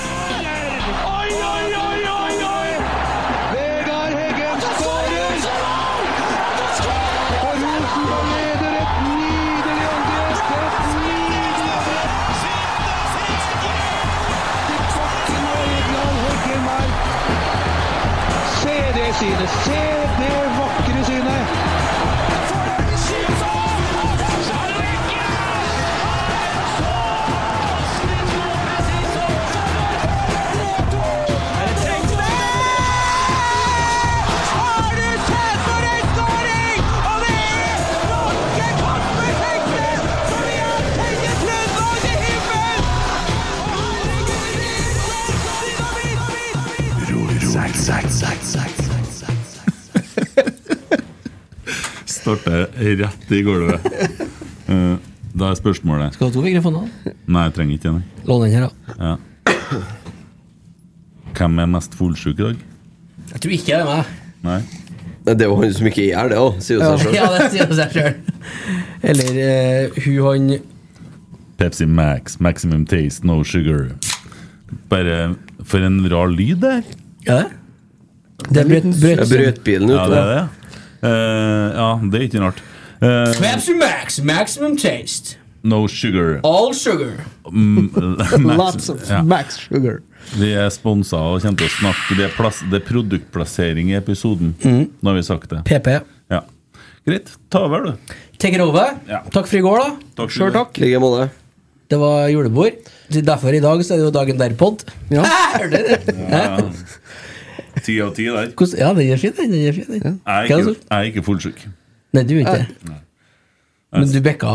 Oi, oi, oi, oi, oi! Vegard Heggen skårer! Og Rosenborg leder et nydelig angrep! Et nydelig angrep! Til bakken og Egil Heggen her. Se det synet! Se det vakre synet! Starter rett i gulvet. Eh, Da er spørsmålet Skal du ha to mikrofoner? Nei, jeg trenger ikke det. nei. Lån den her, da. Hvem er mest fullsjuk i dag? Jeg tror ikke det er meg. Nei? Nei, Det er jo han som ikke gjør det òg, sier jo seg sjøl. Ja, det sier seg sjøl. Eller eh, hun han Pepsi Max, maximum taste, no sugar. Bare for en rar lyd der. Ja, det? Det er brøt, brøt, Jeg brøt bilen Ja, ut. det da. er det. Eh, ja, det er ikke rart. Eh, Pepsi Max, maximum taste. no sugar. All sugar. Max, Lots of ja. max sugar. Vi er sponsa og kommer til å snakke. Det er, plass, det er produktplassering i episoden. Mm. Nå har vi sagt det. PP. Ja. Greit. Ta over, du. Take it over. Ja. Takk for i går, da. Takk for i Sjøl går. takk. I like måte. Det var julebord. Så Derfor i dag så er det jo dagen der-pod. Ja. Hørte du det? Ti av ti der. Hvordan- Ja, den er fin, den. den er fin, den. Jeg Hva er er det ikke, som- jeg er ikke fullsjuk. Nei, du er ikke det. Men du bekka,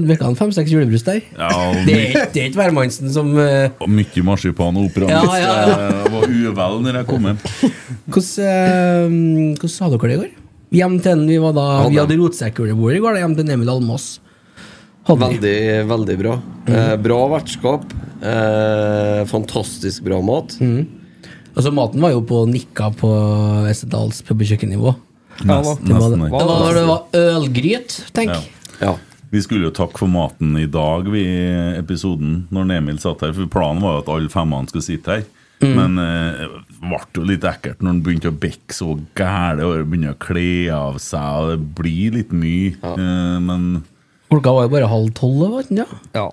du bekka en fem-seks julebrus der. Ja, og Det er my- ikke- det er ikke hvermannsen som eh, og mye marsipan og opera. Ja, ja, ja. Jeg var uvel når jeg kom hjem. Hvordan, eh, hvordan sa dere det i går? Hjem til en, vi, var da, vi hadde rotsekkjulebord i går, da, hjem til Emil Almås. Hadde vi. Veldig, veldig bra. Mm. Eh, bra vertskap. Eh, fantastisk bra mat. Mm. Altså, maten var jo på nikka på Estedals pub- og kjøkkennivå. Nesten, Det var, nesten. det ikke. var når det var ølgryt, tenk. Ja. Ja. Vi skulle jo takke for maten i dag, vi, i episoden, når Emil satt her. For planen var jo at alle femmene skulle sitte her. Mm. Men eh, det ble jo litt ekkelt når han begynte å bekke så gæle og begynne å kle av seg. Og det blir litt mye. Eh, men Klokka var jo bare halv tolv. Var den, ja. Ja.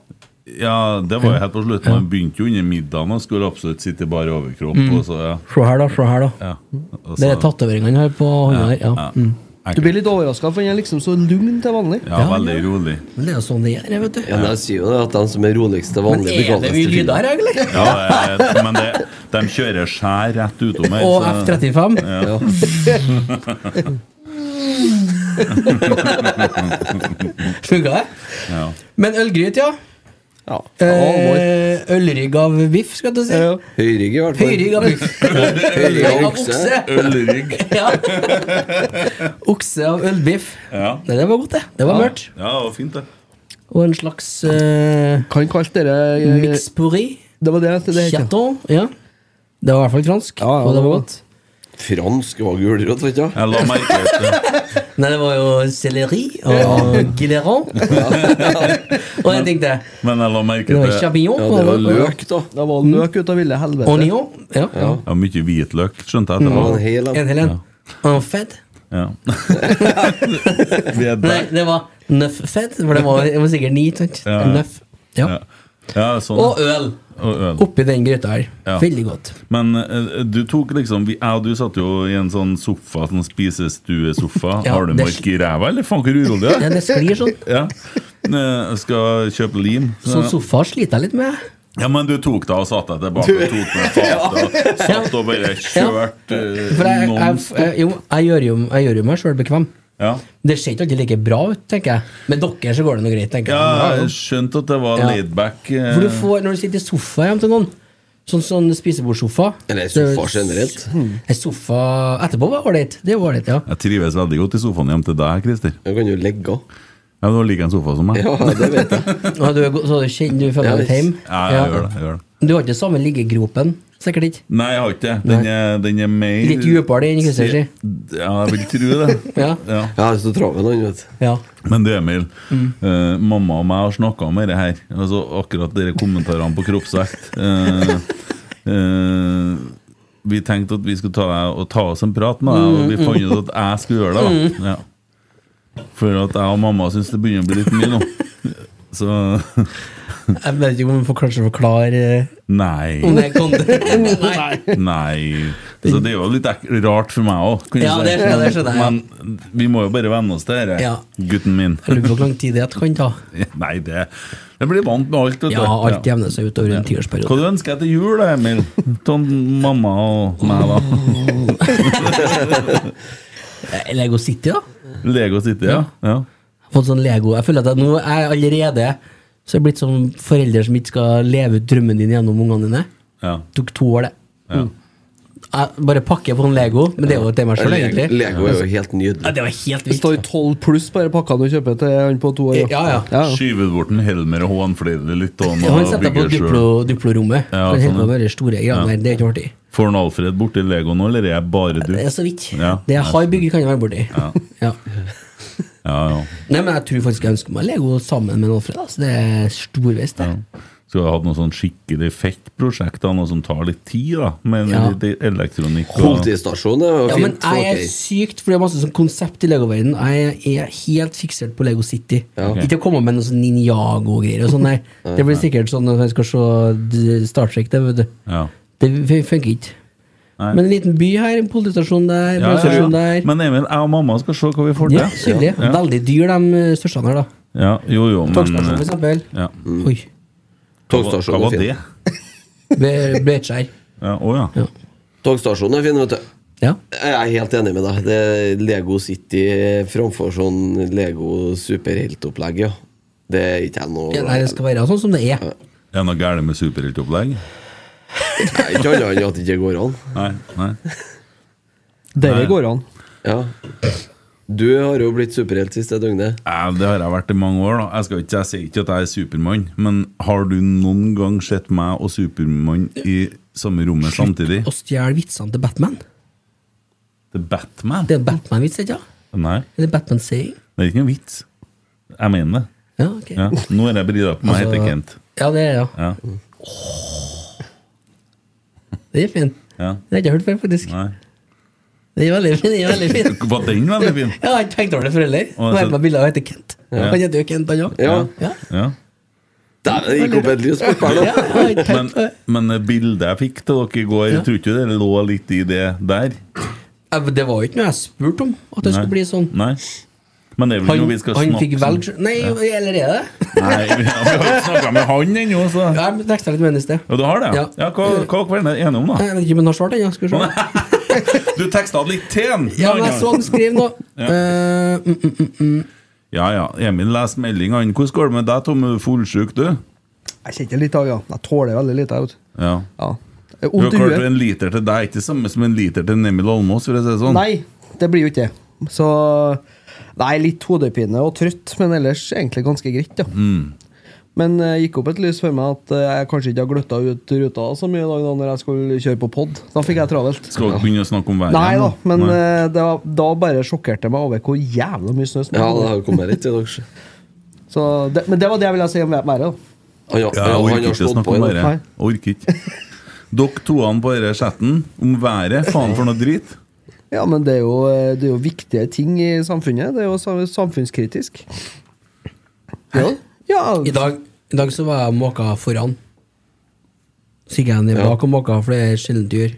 ja, det var jo helt på slutten. Han begynte jo under middagen og skulle absolutt sitte i bar overkropp. Og så, ja, Se her, da. se her da ja. Og Mm. Det er så- tatoveringene her på hånda her. Ja. ja. Mm. Du blir litt overraska, for han er liksom så lugn til vanlig. Ja, veldig rolig. Men det er jo sånn det er, vet du. Ja, men jeg sier jo det at de som er roligst til Men vanlig, er blir det kaldest mye til lyder fylla. her, egentlig? Ja, eh, men det, de kjører skjær rett utom her. Og så- F35? Funka det? Ja. Men ølgryt, ja. Ja. Ja, Eh, ølrygg av biff, skal du si. Ja. Høyrygg, i hvert fall. Høyrygg av biff. Høyrygg Ølrygg av av okse. okse. Ølrygg. Ja. Okse av ølbiff. Ja. Nei, det var godt, det. Det var mørkt. Ja, det var fint, det. Og en slags uh, Kan kalle dere eh, mix pourri. Det var det det het. ja. Chaton. Ja. Det var i hvert fall fransk. Ja, ja, og det var det var godt. Fransk var gulrot, vet du. Jeg la merke til det. Nei, det var jo selleri og guilleron. og en ting til. Men jeg la merke Det til var det. champignon. Ja, det var og- løk, da. Det var løk ut av ville helvete. Onion. Ja. Ja, mye hvitløk, skjønte jeg Det var en Mm. etterpå. hel en. En hel en. En fed. Ja. Vi er Nei, der. det var nøff fed, for det var, det var sikkert ni. sant? Ja, ja. Nøff. Ja. Ja. ja, sånn. Og øl Og øl. oppi den gryta her. Ja. Veldig godt. Men eh, du tok liksom vi, Jeg og du satt jo i en sånn sofa, sånn spisestuesofa. Ja, Har du det- mark i ræva, eller faen, hvor urolig du Ja, er? det sklir sånn. Ja. Eh, Skal kjøpe lim. Sånn sofa sliter jeg litt med. Ja, men du tok deg og satte deg tilbake og tok med fatet og satt og bare kjørte For eh, jeg, jeg, non- jeg, jo, jeg, gjør jo, jeg gjør jo meg sjøl bekvem. Ja. Det ser ikke alltid like bra ut, tenker jeg. Med dere så går det noe greit, tenker ja, jeg. jeg skjønte at det var Ja. laidback. eh, For du får, når du sitter i sofa hjem til noen, sånn, sånn spisebordsofa Eller så- sofa generelt. Nei, Sofa etterpå var ålreit. Det var ålreit, ja. Jeg trives veldig godt i sofaen hjem til deg, Christer. Du kan jo legge av. Ja, du har like en sofa som meg. Ja, det vet jeg. Og du, er god- så du kjenner du føler Ja, deg litt visst. hjemme. Ja, jeg gjør det. jeg gjør det Du har ikke samme liggegropen Sikkert ikke. Nei, jeg har ikke det. Den er, den er mer Litt dypere, den, ikke sant, sier? Ja, jeg vil tro det. Ja. Mm. Ja. Ja, så travel han, vet du. Ja. Men du, Emil. eh, mamma og meg har snakka om dette her. Altså akkurat dere kommentarene på kroppsvekt. Eh, eh, vi tenkte at vi skulle ta, deg og ta oss en prat med deg, og vi fant ut at jeg skulle gjøre det. Mm. da ja. For at jeg og mamma syns det begynner å bli litt mye nå. Så Jeg vet ikke om vi får kanskje forklare eh, om nei. det kan Nei. Nei. Så det er jo litt ek rart for meg òg, Ja, det skjønner jeg, det skjønner jeg. Men vi må jo bare venne oss til dette, Ja. gutten min. Jeg lurer på hvor lang tid det kan ta. Nei, det, det blir vant med alt. vet du. Ja, alt jevner seg utover en Hva tiårsperiode. du ønsker deg til jul, da, Emil? Til mamma og meg, da. Eh, Lego City, da? Lego City, ja. ja. Jeg har fått sånn Lego Jeg føler at jeg nå er jeg allerede så jeg er blitt sånn forelder som ikke skal leve ut drømmen din gjennom ungene dine. ja. Tok to år, det. Ja. Jeg bare pakker på en Lego, men det er jo til meg sjøl, Le- egentlig. Lego er jo helt Ja, nydelig. det var helt Det vilt. står i 12 pluss bare pakkene du kjøper til han på to år. Ja, ja. Skyver bort en Helmer og hånflirer litt av Ja, Han og setter på bygger sjøl. duplo- duplorommet. Ja, Ja, sånn, sånn, ja. ja. Bare store greier der, det er ikke artig. Får han Alfred borti Lego nå, eller er jeg bare du? Det er Ja, så vidt. Ja. Det jeg har bygd, kan jeg være borti. Ja. ja. Nei, men jeg tror faktisk jeg ønsker meg Lego sammen med Alfred. Altså. Det er storveis, det. Skulle ha hatt noe sånn skikkelig fett prosjekt, da, noe som tar litt tid, da. Med Ja. litt elektronikk og Politistasjon er jo Ja, men fint. jeg er ok. sykt, for det er masse sånn konsept i Lego-verdenen. Jeg er helt fiksert på Lego City. Ikke å komme med noe sånn Ninjago-greier og sånn, nei. Det blir sikkert sånn når jeg skal se d- Star Trek, det, vet du. ja. Det fun- funker ikke. Nei. Men en liten by her, en politistasjon Ja, der, ja, ja. brannstasjon der. Men Emil, jeg og mamma skal se hva vi får Ja, til. kjedelig. Ja. Veldig dyr, de eh, største her, da. Ja, jo, jo, Togstasjon, for men eksempel. eh, ja. Mm. Oi. Hva Togstasjonen var er det? fin. Be- Blekskjær. Ja, Å ja. Togstasjonen er fin, vet du. Ja. Jeg er helt enig med deg. Det er Lego City framfor sånn Lego superheltopplegg, ja. Det er ikke jeg noe Ja, Nei, det skal være sånn som det er. Er det noe galt med superheltopplegg? Nei, Ikke annet enn at det ikke går an. Nei. nei. Dere Nei. går an. Ja. Du har jo blitt superhelt siste døgnet. Ja, det har jeg vært i mange år. da Jeg, skal ikke, jeg sier ikke at jeg er Supermann, men har du noen gang sett meg og Supermann i samme rommet samtidig? Å stjele vitsene til Batman. Det er Batman? Det er en Batman-vits, ikke sant? Nei, Eller Batman-saying. det er ikke noen vits. Jeg mener det. Ja, ok. Ja. Nå er jeg brida på meg, Altså- heter Kent. Ja, det er ja. Ja. Det er fin. Ja. Det har jeg ikke hørt før, faktisk. Nei. Det er veldig fin. Det er veldig fin. Var den veldig fin? Jeg har ikke tenkt over det for heller. Nå Og har så- jeg meg bilde av heter Kent. Han heter jo Kent, han òg. Ja. Ja. Ja. Dæven, det gikk opp et lys opp her Ja, nå. jeg har ikke Men, tenkt på det. men det bildet jeg fikk til dere i går, jeg tror ikke det lå litt i det der? Ja, men Det var jo ikke noe jeg spurte om, at det skulle bli sånn. Nei. Men det er vel ikke Han, noe vi skal han snakke sånn. fikk velge selv- Nei, eller er det? Nei, vi har vi har ikke snakka med han ennå, så Ja, Jeg teksta litt med henne i sted. Ja, du har det? Ja. Ja. hva, hva var dere enige om, da? Jeg vet ikke om hun har svart ennå. Skal vi se. Du teksta litt til den! Ja, men jeg så han skrive nå. Eh, mm, mm, mm, mm. ja, ja. Emil leser meldinga. Hvordan går det med deg, Tom? Er du Fullsjuk, du? Jeg kjenner litt av, ja. Jeg tåler veldig lite. Jeg, vet du. Ja. ja. Jeg er Du har Vondt i klart huet. en liter til deg, ikke samme som en liter til Emil Almås, for å si det sånn. Nei, det blir jo ikke det. Så Nei, litt hodepine og trøtt, men ellers egentlig ganske greit, ja. Men det gikk opp et lys for meg at eh, jeg kanskje ikke har gløtta ut ruta så mye i dag da når jeg skulle kjøre på pod. Da fikk jeg travelt. Skal dere begynne å snakke om været? Nei da, igjen, men Nei. eh, det var, da bare sjokkerte jeg meg over hvor jævla mye snø som Ja, det var. har kommet litt i dag. så. Så det, men det var det jeg ville si om været. da. Han, har- Ja, Ah, jeg han har orker ikke å slått snakke på i om dag. været. Nei. Jeg Orker ikke. Dere toene på denne chatten om været. Faen for noe drit. Ja, men det er, jo, eh, det er jo viktige ting i samfunnet. Det er jo sa- samfunnskritisk. Ja, ja I dag, I dag så var jeg måka foran. Så gikk jeg ned bak og måka, for det er sjeldent du gjør.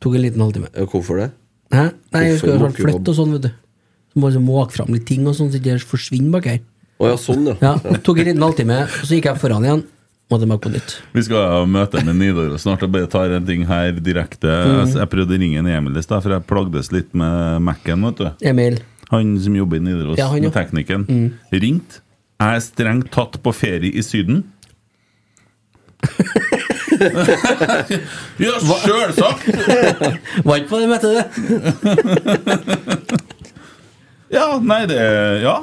Tok en liten halvtime. Ja, Hvorfor det? Hæ? Nei, jeg skal jo Hvorfor snart flytte og sånn, vet du. Så må jeg liksom måke fram litt ting og sånn, så ikke det forsvinner bak her. Å ja, sånn, ja. Ja, Tok en liten halvtime, så gikk jeg foran igjen. Måtte måke på nytt. Vi skal ha møte med Nidaros snart. Jeg bare tar en ting her direkte. Mm. Jeg- Jeg prøvde å ringe en Emil i stad, for jeg plagdes litt med Mac-en, vet du. Emil. Han som jobber i Nidaros, Ja, han, ja. Mm. med teknikken, ringte. Jeg er strengt tatt på ferie i Syden. ja, sjølsagt! Var ikke på det møtet, du. Ja, nei, det Ja.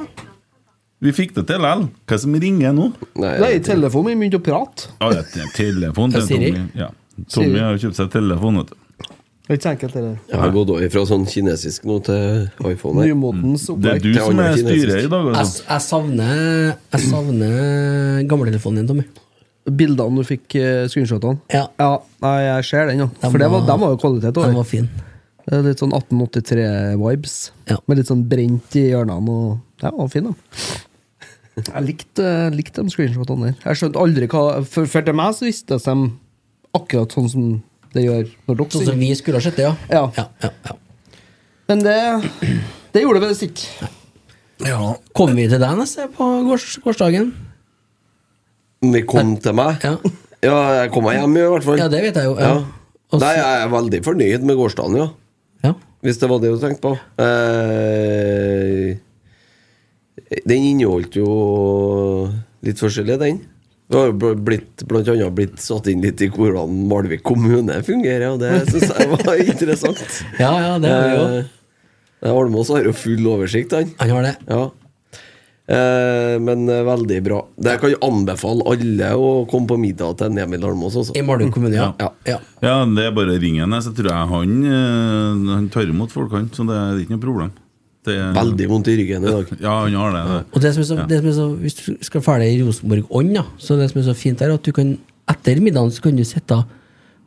Vi fikk det til likevel. Hva som ringer nå? Nei, Nei, telefonen min begynte å prate. Ja, det er telefon. Hva sier de? Ja. Tommy har jo kjøpt seg telefon. vet du. Det er ikke så enkelt, det der. Jeg har gått over fra sånn kinesisk nå til iPhone. her. Nymotens Det er opplegg. du Det er som andre er kinesisk. styret i dag. Jeg, Altså. jeg savner Jeg savner gamletelefonen din, Tommy. Bildene du fikk, eh, screenshotene. Ja. Nei, jeg ser den, ja. For Den det var, var- dem var jo kvalitet. Den Også. var fin. Det er Litt sånn 1883-vibes. Ja. Med litt sånn brent i hjørnene. Og, ja, var fin, da. Jeg likte, jeg likte de screenshotene der. Jeg skjønte aldri hva For, for til meg så visste de akkurat sånn som det gjør når dere Sånn sier som vi skulle ha sett det, ja. Ja. ja, ja, ja. Men det, det gjorde det visst ikke. Kom vi til deg neste på gårs, gårsdagen? Vi kom til meg. Ja. Ja, jeg kom meg hjem, i hvert fall. Ja, det vet jeg jo. Ja. Ja. Og så- Nei, jeg er veldig fornøyd med gårsdagen, ja. ja. Hvis det var det du tenkte på. Eh, den inneholdt jo litt forskjellig, den. Det har jo bl- blitt, blant annet blitt satt inn litt i hvordan Malvik kommune fungerer, og det syns jeg var interessant. Ja, ja, det har vi jo. Eh, Almås har jo full oversikt, han. Han har det. Ja. Eh, men eh, veldig bra. Det kan jeg anbefale alle å komme på middag til en Emil Almås, altså. I Malvik kommune, Mm. ja. Ja. ja. Ja, det er bare å ringe henne, så tror jeg han, eh, han tar imot folk, han. Så det er ikke noe problem. Det er, Veldig vondt i ryggen i dag. Ja, han har det. Og det som er så, det som er så, Hvis du skal ferdig i Rosenborg-ånd, da, så det som er så fint, er at du kan etter middagen så kan du sitte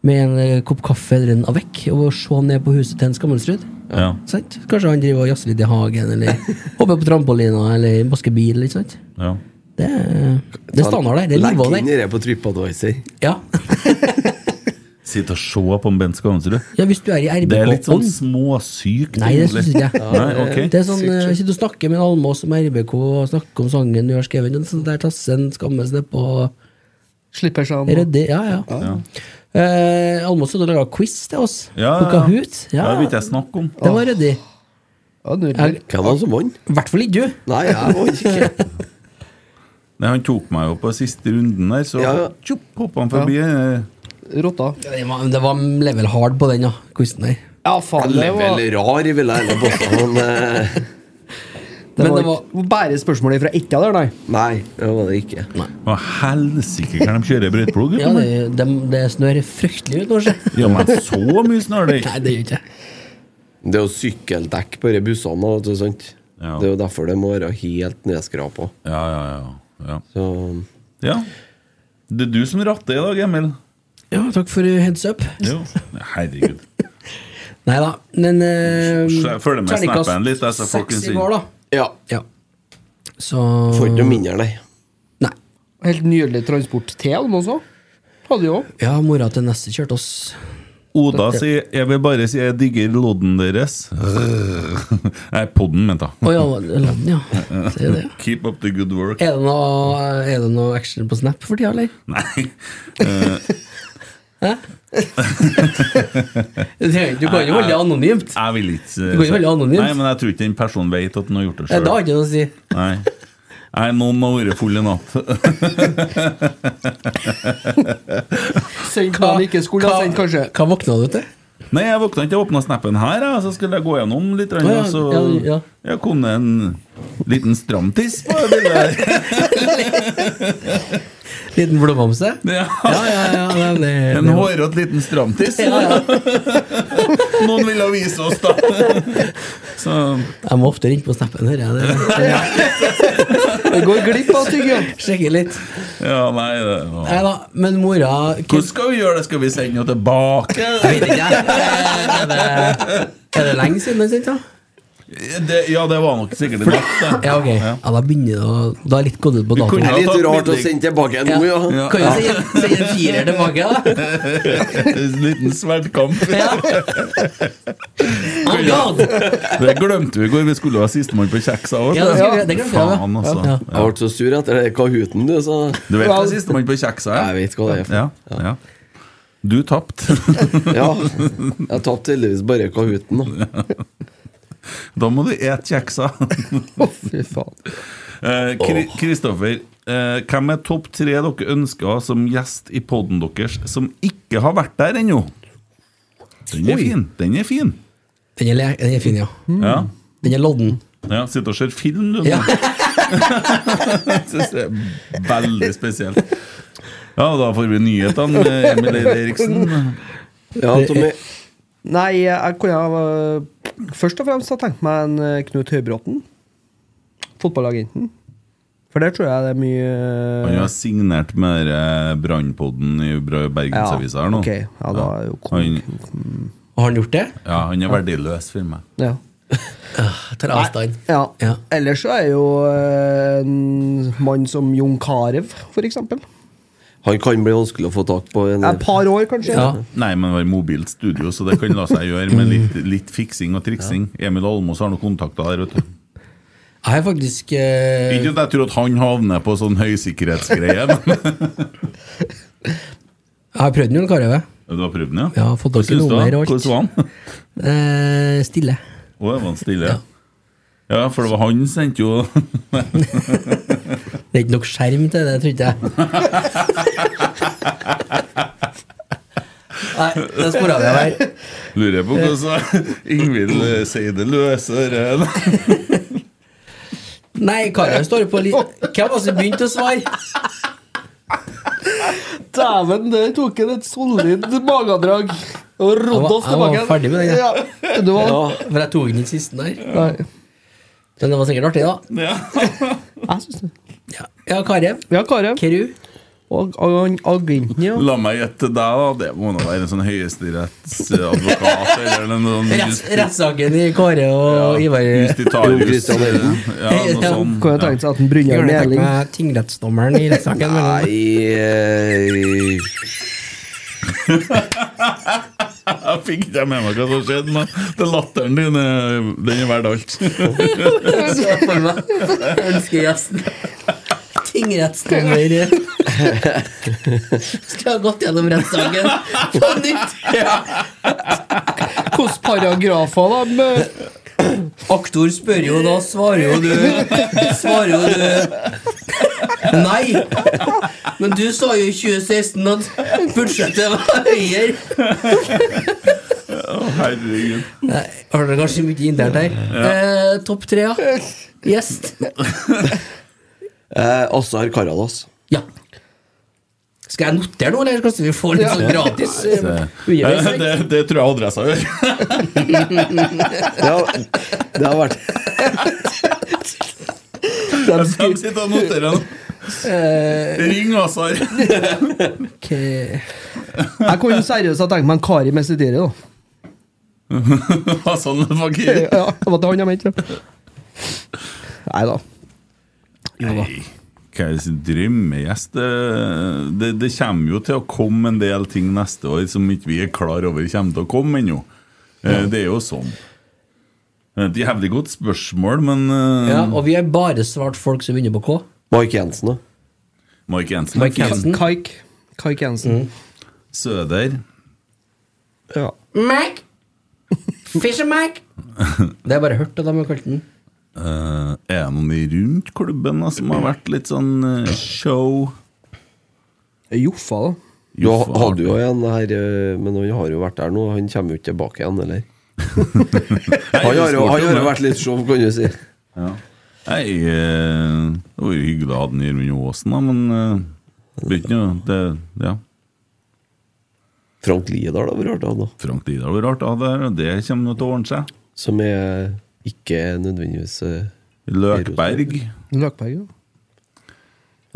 med en eh, kopp kaffe eller en avec og se ned på huset til en Skammelsrud. Ja. Sant? Kanskje han driver og jazzer litt i hagen, eller hopper på trampolina, eller basker bil. Ikke sant? Ja. Det, er- det er standard der. Det er Legg nivået inn der. det på TripAdvisor. Ja. Sitte og se på en Bent Skavnsrud. ja, hvis du er i Det er litt sånn RBK-ånd småsykt. Nei, det synes ikke jeg. Nei, ok. Det er sånn, eh, Sitter og snakker med en Almås om RBK og snakker om sangen du har skrevet. En sånn der tassen skammes nedpå. Slipper seg an. Ryddig, ja, ja. Eh, Almås hadde laga quiz til oss. Ja, På ja. Kahoot. Ja, Ja, det vil ikke jeg snakke om. det var ryddig. Ja, nydelig. Jeg- Hvem var det som vant? I hvert fall ikke du. Nei, jeg vant ikke. Nei, han tok meg jo på siste runden der, så Ja, ja. tjopp, hoppa han forbi. eh, Rotta. Ja, Det var, det var level hard på den ja, quizen der. Ja, faen, det var, Level rar, vil jeg heller påstå. Men eh, det Men det var ikke bare spørsmålet fra ett av der, nei. nei, det var det ikke. Hva helsike kan de kjøre brøyteplog? Ja, det, det, det snør fryktelig ut nå, se. Ja, men så mye snarlig! Nei, det gjør ikke jeg. Det er jo sykkeldekk på de bussene, vet du, sant? Ja. Det er jo derfor det må være helt nedskrapa. Ja, ja, ja. ja. Så ja. Det er du som ratter i dag, Emil. Ja, takk for eh, heads up. Jo. Herregud. Nei da, men eh, Jeg følger med terningkast snappen litt, jeg, så folk kan seks si. i går, da. ja. Ja. Så Får ikke noe mindre, nei. Nei. Helt nydelig transport til dem også. Hadde jo. Ja, mora til neste kjørte oss. Oda sier 'Jeg vil bare si jeg digger lodden deres'. Nei, podden, mente Å jeg. ja, land, ja. Det er det. Keep up the good work. Er det noe, er det noe action på Snap for tida, eller? Nei. Det er- Du kan jo holde det anonymt. Jeg vil ikke eh, Du kan jo holde anonymt. Nei, men jeg tror ikke den personen vet at den har gjort det Ja, Det sjøl. har ikke noe å si. Nei. Nei, noen har vært full i natt. Sendt noe han ikke skulle ha sendt, kanskje. hva våkna du til? Nei, jeg våkna ikke, jeg åpna snappen her, jeg, så skulle jeg gå gjennom litt. Å, ja, og så ja, ja. ja, kom det en liten stramtiss på det bildet der. Liten blodbamse? Ja. Ja, ja, ja. Det, det, En det, hårete liten stramtiss. ja, ja. Noen ville vise oss, da. Så Jeg må ofte ringe på Snappen, hører jeg. det. Vi går glipp av tygge. Sjekke litt. Ja, nei det var- Nei da, men mora Hvordan skal vi gjøre det? Skal vi sende henne tilbake? Vet ikke jeg. Er det, er det lenge siden den sendte? da? Det, ja, det var nok sikkert i natt. det. Ja, ok. Ja, da begynner det å Da er litt gått ut på Vi datoen. kunne- Det er Ja, takk, litt rart å Ludvig. sende tilbake Ja. nå, ja. Kan jo sende sende en firer tilbake, da. En liten sverdkamp. Ja. Oh God! Det glemte vi i går. Vi skulle jo ha sistemann på kjeks. av oss. Ja, det skulle vi- det glemte vi, ja. Faen, altså. Ja. Jeg ble så sur etter det Kahooten, du, så Du vet hva sistemann på kjeks er? Jeg vet hva det er. for- Ja, ja. Du tapte. Ja. Jeg tapte heldigvis bare Kahooten, da. Da må du et kjeksa. Å, fy faen. Eh, Kri- Kristoffer, eh, hvem er topp tre dere ønsker å ha som gjest i poden deres, som ikke har vært der ennå? Den er fin. Den er fin. Den er, le- den er fin, ja. Hmm. Ja. Den er lodden. ja Sitter og ser film, du. Ja. Synes det er veldig spesielt. Ja, da får vi nyhetene med Emil Eide Eriksen. Ja, Tommy. Nei, jeg kunne ha øh, først og fremst ha tenkt meg en øh, Knut Høybråten. Fotballagenten. For der tror jeg det er mye Han øh, har signert med eh, Brannpodden i Bra- Bergensavisa her nå. ok. Ja, da er jo han, Har han gjort det? ja, han er verdiløs for meg. Ja. Jeg tar avstand. ja. Ja. Ellers så er jo øh, en mann som Jon Carew, for eksempel. Han kan bli vanskelig å få tak på. En, Et par år, kanskje. Ja. Nei, men det var i mobilt studio, så det kan la seg gjøre med litt, litt fiksing og triksing. Emil Almås har noen kontakter der, vet du. Jeg er faktisk eh, Ikke sånn at jeg tror at han havner på sånn høysikkerhetsgreie, men Jeg har prøvd den, Jon Carew. jeg. Du har prøvd den, ja? Jeg har fått Hva tak i syns du? nummer og alt. Hvordan var han? Eh, stille. Å, det var han stille? Ja, for det var han sendte jo Det er ikke nok skjerm til det, trodde jeg. Nei, det spora vi av her. Lurer på hvordan Ingvild eh, sier det løse der. Nei, Karin står på litt Hvem var det som begynte å svare? Dæven, det tok en et solid magedrag. Og rodde oss Jeg var- tilbake. jeg var ferdig med den, Ja. jeg. Du var, For jeg tok den ikke sisten der. Nei. Men det var sikkert artig, da. Ja. Jeg syns det. Ja, ja Karev. Ja, Carew. Keru. Og, og, og agenten, ja. La meg gjette deg, da. Det må nå være en sånn høyesterettsadvokat eller en sånn Rett- Rettssaken i Kåre og Ivar. Jo, justitarius. Christian Elden. Ja, noe Ja. sånt. Kan jo tenke seg at en Brynjar Gjør det takk Meling med tingrettsdommeren i rettssaken. Nei mellom- eh, Jeg fikk ikke med meg hva som skjedde, men det latteren din eh, Den er verdt alt. Se for meg ønskegjesten. Tingrettsdommer Skal ha gått gjennom rettssaken på nytt. Hvilke paragrafer, eh, da? med- Aktor spør jo, da svarer jo du Svarer jo du Nei! Men du sa jo i 2016 at budsjettet var høyere. Å, Herregud. Nei, Har dere kanskje mye internt her? Eh, Topp tre, ja. Gjest. eh, Assar Karadas. Ja. Skal jeg notere noe, eller skal vi få litt sånn gratis? eh, Eh, underveis? Det, det tror jeg adressa gjør. Det har, det har vært De Eh, sitter og noterer nå. Ring Azar. Ok. Jeg kunne seriøst ha tenkt meg en Kari Mesidiri, da. Hassan Fakir. Ja, det var det han jeg mente. Nei da. Jo da. Nei, Hva er det sin drømmegjest? Det, det, det kommer jo til å komme en del ting neste år som ikke vi er klar over kommer til å komme ennå. Eh, Det er jo sånn. Det er Et jævlig godt spørsmål, men eh, Ja, og vi har bare svart folk som begynner på K. Mark Jensen, da. Mark Jensen, Mark Mark Jensen. Mm. Kaik. Kaik Jensen. Søder Ja. Mac! Fisher Mac! Det har jeg bare hørt at de har kalt den. Eh, Er det noen i rundt klubben da, som har vært litt sånn eh, show? Eh, Joffa, da. Du Jo, ha- hadde jo en her, eh, men han har jo vært der nå. Han kommer jo ikke tilbake igjen, eller? Han har jo, han har jo vært litt show, kan du si. Nei, eh, det var jo hyggelig å ha den Gjermund Aasen, da, men eh, det blir ikke noe det, Ja. Frank Liedal har vært der, da. Frank Didar var rart, da. Det, det kommer nå til å ordne seg. Som er ikke nødvendigvis eh, Løkberg. Løkberg, da.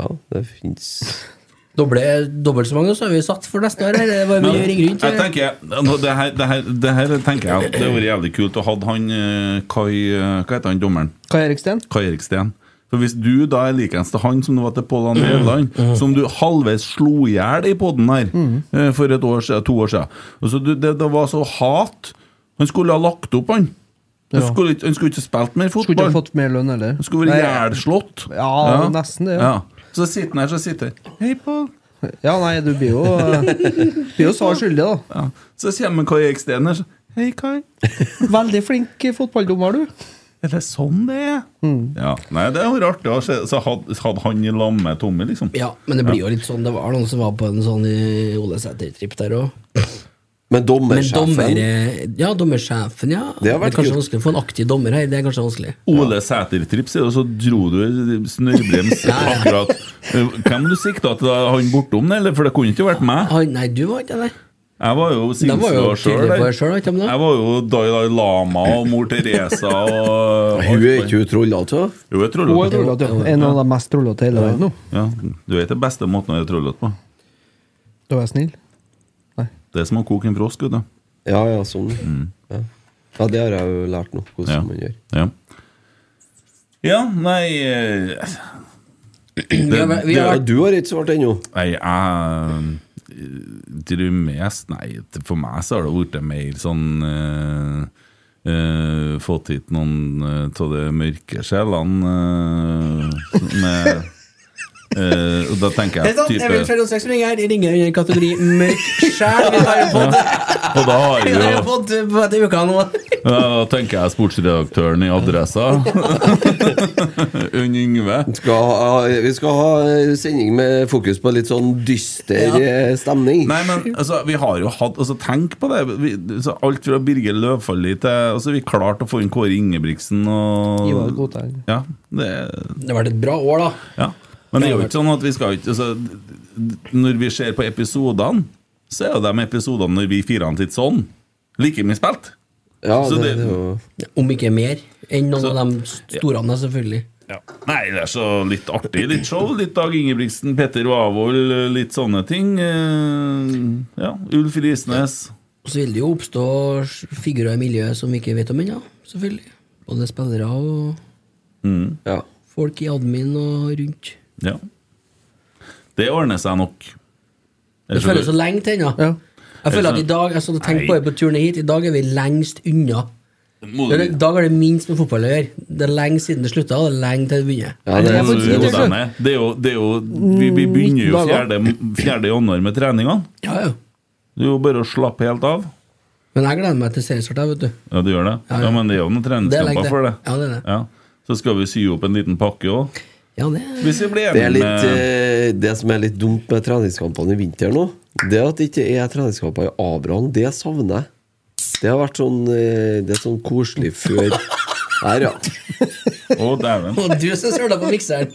Ja, det fins Doble, dobbelt så mange så har vi satt for neste år. her. Det er bare mye å ringe rundt. jeg tenker, nå, det, her, det, her, det her tenker jeg at det hadde vært jævlig kult å ha han eh, Kai eh, Hva heter han dommeren? Kai Erik Steen. Kai Erik Steen. For hvis du da er likens til han som du var til Pål André Øverland, som du halvveis slo i hjel i poden her Mm. eh, for et år siden, to år siden Og så du, det, det var så hat. Han skulle ha lagt opp, han. Han, Ja. skulle, ikke- han skulle ikke spilt mer Skulle ikke fotball. ha fått mer lønn, eller? Han skulle vært ihjelslått. Ja, nesten det, ja. Ja. Så sitter han her, så sitter han Hei, Pål. Ja, nei, du blir jo eh, Blir jo svar skyldig, da. Ja. Så kommer Kai Erik Steen her. så, Hei, Kai. Veldig flink fotballdommer, du. Er det sånn det er? Mm. Ja. Nei, det er jo rart. Ja. Så så hadde, hadde han i lag med Tommy, liksom. eh, Ja, men det blir jo litt sånn. Det var noen som var på en sånn i Ole Sæter-tripp der òg. Men Men dommersjefen dommer, eh, ja, dommersjefen, ja. Det har vært er kanskje kult. vanskelig å få en aktiv dommer her. Det er kanskje vanskelig. Ole Sæter-trips, og så dro du snørrbrems akkurat Hvem du sikta til? da? Han bortom det, eller? For det kunne ikke vært meg. Han- nei, du var ikke der. Jeg var jo Da var jo sinnsløs sjøl. tydelig på deg Jeg selv, ikke sant, da? Jeg var jo Dai Dai Lama og mor Teresa og Hun er ikke hun altså? trollete? da? Jo, jeg Hun er trollete. trollete. ja. En av de mest trollete i hele verden nå. Ja, du vet det beste måten å være trollete på. Da var jeg snill. Det er som å koke en frosk, vet du. Ja, ja, sånn. Ja. ja, det har jeg jo lært nå, hvordan Ja. man gjør. Ja, ja nei eh, Vi har, vært- vi har Ja, vært du har ikke svart ennå. Nei, jeg drømmest Nei, det- for meg så har det blitt mer sånn eh, eh, Fått hit noen eh, av de mørke sjelene eh, med eh, Og da tenker Det er sånn, jeg sant, Emil type 306 ringer her. Ringer under kategori mørk sjel. Vi har jo fått, Og da har vi vi har jo jo fått eh, på dette uka nå. ja, Da tenker jeg sportsredaktøren i Adressa. Unn Yngve. Skal ha, vi skal ha eh, sending med fokus på litt sånn dyster eh, stemning. Nei, men altså, vi har jo hatt altså, Tenk på det. Vi, så alt fra Birger Løvfalli til altså, Vi klarte å få inn Kåre Ingebrigtsen og Ivar Godthaug. Ja, det, Det har vært et bra år, da. ja. Men det er jo ikke sånn at vi skal ikke altså, d- d- Når vi ser på episodene, så er jo de episodene når vi firer han litt sånn, like mye spilt. Ja, så det, det- det er jo Om ikke mer enn noen Så- av de store, selvfølgelig. Nei, det er så litt artig. Litt show. Litt Dag Ingebrigtsen, Petter Wavold, litt sånne ting. Eh, Ja, Ulf Risnes. Og så vil det jo oppstå s- figurer i miljøet som vi ikke vet om ennå, selvfølgelig. Både spillere og ja. folk i admin og rundt. Ja. Det ordner seg nok. Det føles så lenge til ennå. Jeg føler at i dag, altså, tenk på det på turen hit, i dag er vi lengst unna. Må I dag har det minst med fotball å gjøre. Det er lenge siden det slutta, og det er lenge til det begynner. Ja, det, Må er- du roe deg ned. Det er jo, det er jo, vi, vi begynner jo 19 dager. 4. 4. januar med treningene. Ja, ja. Det er jo bare å slappe helt av. Men jeg gleder meg til seriestart, jeg, vet du. Ja, du gjør det? Ja, ja. Ja, men det er jo noen Det er lenge treningskamper til. for det. Ja, det er det. Ja. Så skal vi sy opp en liten pakke òg. Ja, det Hvis vi blir det, er enige litt, med eh, det som er litt dumt med treningskampene i vinter nå, det er at det ikke er treningskamper i Abraham. Det savner jeg. Det har vært sånn eh, Det er sånn koselig før Her, ja. Å, dæven. Og du som søla på mikseren!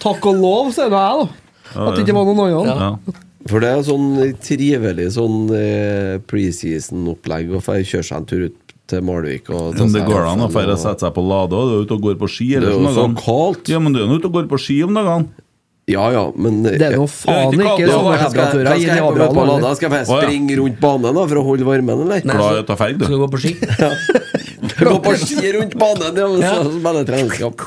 Takk og lov, sier nå jeg, da. At det ikke var noen annen. Ja. For det er sånn trivelig sånn eh, preseason-opplegg å få kjøre seg en tur ut til Malvik og ta Men det seg går an å en dra og og- sette seg på Lade og du er ute og går på ski. Det Eller er jo så sånn noe. kaldt. Ja, men du er nå ute og går på ski om dagene. Ja ja, men eh, Det er jeg- nå faen ikke Ja, sånne Hva skal jeg- helskaturer hva skal inn i jeg på med på Abraham. Lada? Skal Å, jeg ja. springe rundt banen da for å holde varmen, eller? Nei, Glad i så- å ta ferg, Skal du. du gå på ski? Gå på ski rundt banen, det er jo så- så bare treningskamp.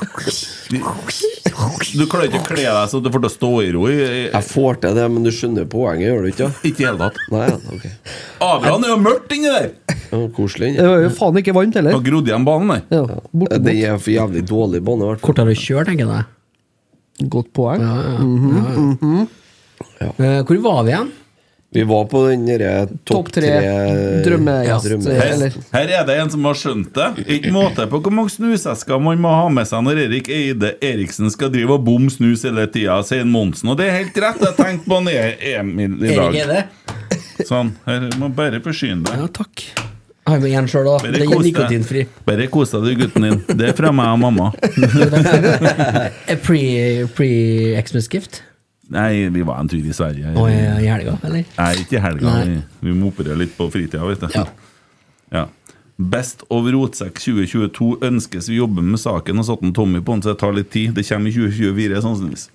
Du klarer ikke å kle deg så du får til å stå i ro i i- Jeg får til det, men du skjønner poenget, gjør du ikke? da? Ikke i det hele tatt. Nei, ja, ok. Abraham er jo mørkt inni der! Det var koselig. Det var jo faen ikke varmt heller. Har grodd igjen banen der. Ja, borte, Den er for jævlig dårlig bane, i hvert fall. Kortere å kjøre, tenker jeg. Godt poeng. Ja, ja. Mhm, ja, ja. Eh, Hvor var vi igjen? Vi var på den derre Topp tre drømmegjest. drømme. Eller Her, her er det en som har skjønt det. Ikke måte på hvor mange snusesker man må ha med seg når Erik Eide Eriksen skal drive og bomme snus hele tida, sier Monsen. Og det er helt rett, jeg tenkte på han E- Emil i Erik dag. Ede? Sånn, her må bare forsyne Ja, deg. takk. Jeg har med en sjøl, da. Bare Den er kos deg. nikotinfri. Bare kos deg, du gutten din. Det er fra meg og mamma. Eh, pre- Pre-Xmas-gift? Nei, vi var en tur i Sverige. Og eh, i helga, eller? Nei, ikke i helga. Nei. Vi, vi må operere litt på fritida, vet du. Ja. Ja. Best of Rotsekk 2022 ønskes vi jobber med saken og satt en Tommy på den, så det tar litt tid. Det kommer i sånn 2024, sannsynligvis.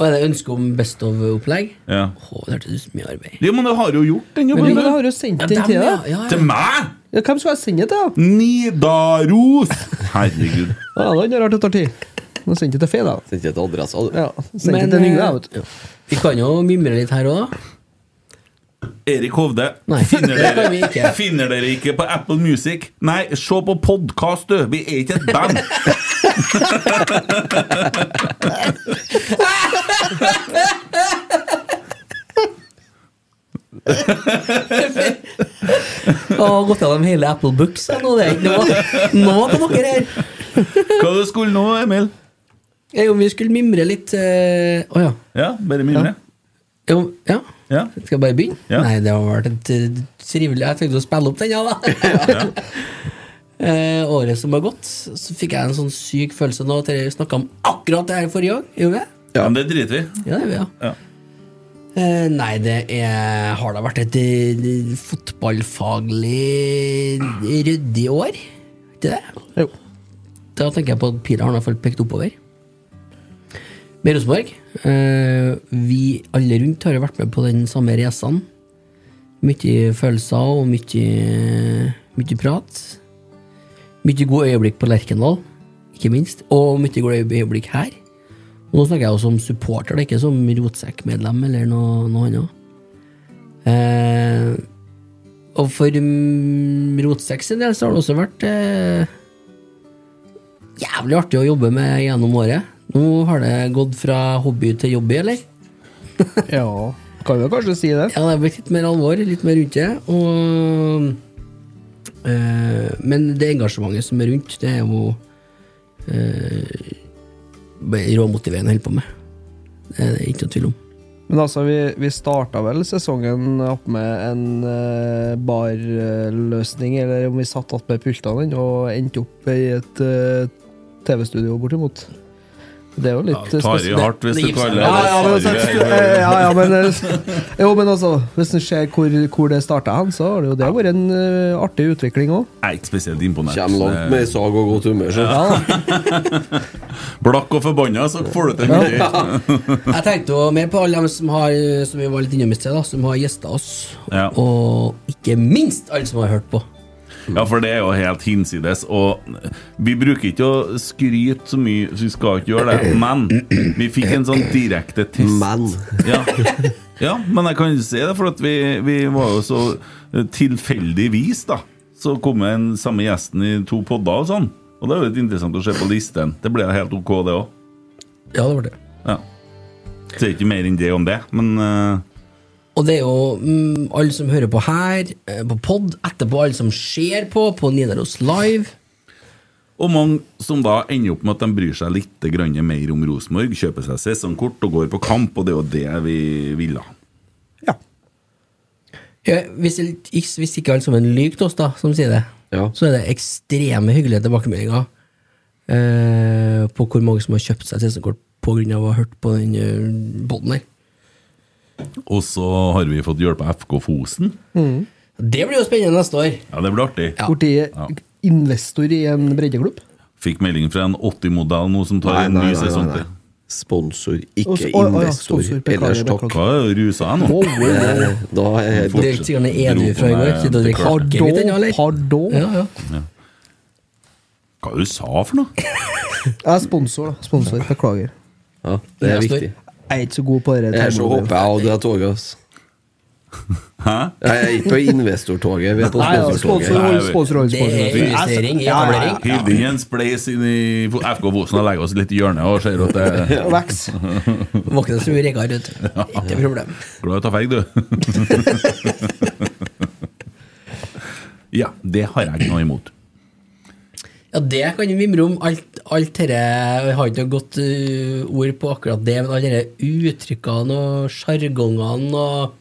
Og er det ønske om best of-opplegg? Ja. Å, det hørtes ut som mye arbeid. ja, men du har jo gjort den Men jobben! du du. har jo sendt Ja, den dem, til ja. deg. ja, ja. Til meg! Ja, Hvem skal jeg sende den til? da? Nidaros! Herregud. Ja, det er rart det tar tid. Nå sendte jeg til Fe, da. Sendte et altså. adresse. Ja, sendte jeg Men, til Yngve, eh, jeg, vet du. Vi kan jo mimre litt her òg, da. Erik Hovde, Nei, finner det kan vi dere, ikke. finner dere ikke på Apple Music? Nei, se på podkast, du! Vi er ikke et band! Jeg har gått gjennom hele Apple Books jeg, nå. Det er ikke noe, noe på dere her. Hva du skulle nå, Emil? Eh, Om vi skulle mimre litt eh, Å ja. Ja, bare mimre. Jo, ja. Ja. Skal jeg bare begynne? Ja. Nei, det har vært et eh, trivelig Jeg tenkte å spille opp den, ja da. Eh, året som har gått, så fikk jeg en sånn syk følelse nå. at Vi snakka om akkurat det her forrige gang. Gjorde vi det? Ja. Men det driter vi i. Ja, det gjorde vi, ja. Ja. Eh, nei, det er, har da vært et eh, fotballfaglig ryddig år. Ikke det? Jo. Da tenker jeg på at pila har i hvert fall pekt oppover. Med Rosenborg eh, Vi alle rundt har jo vært med på den samme reisen. Mye følelser og mye, mye prat. Mye gode øyeblikk på Lerkendal, ikke minst. Og mye gode øyeblikk her. Og nå snakker jeg jo som supporter, det er ikke som rotsekkmedlem eller noe, noe annet. Eh, og for mm, rotsekk sin del så har det også vært eh, jævlig artig å jobbe med gjennom året. Nå har det gått fra hobby til jobby, eller? Ja, kan vi jo kanskje si det. Ja, det er blitt litt mer alvor, litt mer rundt det. Og, eh, men det engasjementet som er rundt, det er jo eh, bare råmotiverende å holde på med. Det er det ikke noe tvil om. Men altså, vi, vi starta vel sesongen opp med en eh, barløsning, eller om vi satt opp med pultene den, og endte opp i et eh, TV-studio bortimot. Det er jo Ja, litt tar i spesielt. hardt hvis du Det- kaller det Ja, ja, men, tar i- eh, ja, ja, men eh, Jo, men altså, hvis en ser hvor, hvor det starta hen, så har det jo det vært en eh, artig utvikling òg. Jeg er ikke spesielt imponert. Eh, Kjem langt med sag og godt humør. Så. Blakk og forbanna, så får du til mye. Jeg tenkte jo mer på alle dem som, har, som vi var litt innom i sted, da, som har gjesta oss. Ja. Og ikke minst alle som har hørt på. Ja, for det er jo helt hinsides. Og vi bruker ikke å skryte så mye, så vi skal ikke gjøre det. Men vi fikk en sånn direkte test. Men Ja, ja men jeg kan ikke si det, for at vi, vi var jo så tilfeldigvis, da. Så kom den samme gjesten i to podder og sånn. Og det er jo litt interessant å se på listen. Det ble helt ok, det òg. Ja, det var det. Ja. Sier ikke mer enn det om det, men eh, Og det er jo mm, alle som hører på her, eh, på pod, etterpå alle som ser på, på Nidaros Live. Og mange som da ender opp med at de bryr seg litt grann mer om Rosenborg, kjøper seg sesongkort og går på kamp, og det er jo det vi ville. Ja, hvis, ikke- hvis ikke alle sammen lyver til oss, da, som sier det, Ja. så er det ekstreme hyggelige tilbakemeldinger eh, på hvor mange som har kjøpt seg sesongkort pga. å ha hørt på den eh, poden der. Og så har vi fått hjelp av FK Fosen. Det blir jo spennende neste år. Ja, det blir artig. Ja. Blitt investor i en breddeklubb. Fikk melding fra en 80-modell nå som tar Nei, en nei, ny nei, sesong nei, til. nei. Sponsor, Og så- å, ikke å, ja, investor. sponsor, beklager, Ellers takk. beklager. Hva er det, rusa jeg nå? Oh, yeah. Eh, Da er Det er ikke sikkert han er edru fra i går. sitter og drikker Pardon, kake litt ennå, eller? pardon. Ja, ja. Hva er det du sa for noe? Jeg er sponsor, da. Sponsor, Beklager. ja, det er Investor. viktig. Jeg er ikke så god på det. Det her så håper jeg hadde jeg toget. ass. Hæ? Jeg er ikke på investortoget, vi er på Nei, ja, sponsor, sponsortoget. Nei, jeg hold, vet. sponsor, hold, Det er sponsor. investering i Ja, ja, ja. etablering. Hiv inn en spleis inn i FK Fosen og legger oss litt i hjørnet og ser at det er Veks. Våkne som reggar, vet du. Ikke problem. Glad i å ta feig, du. ja, det har jeg ikke noe imot. Ja, det kan vi mimre om. Alt, alt dette Jeg har ikke noe godt eh, ord på akkurat det, men alle disse uttrykkene og sjargongene og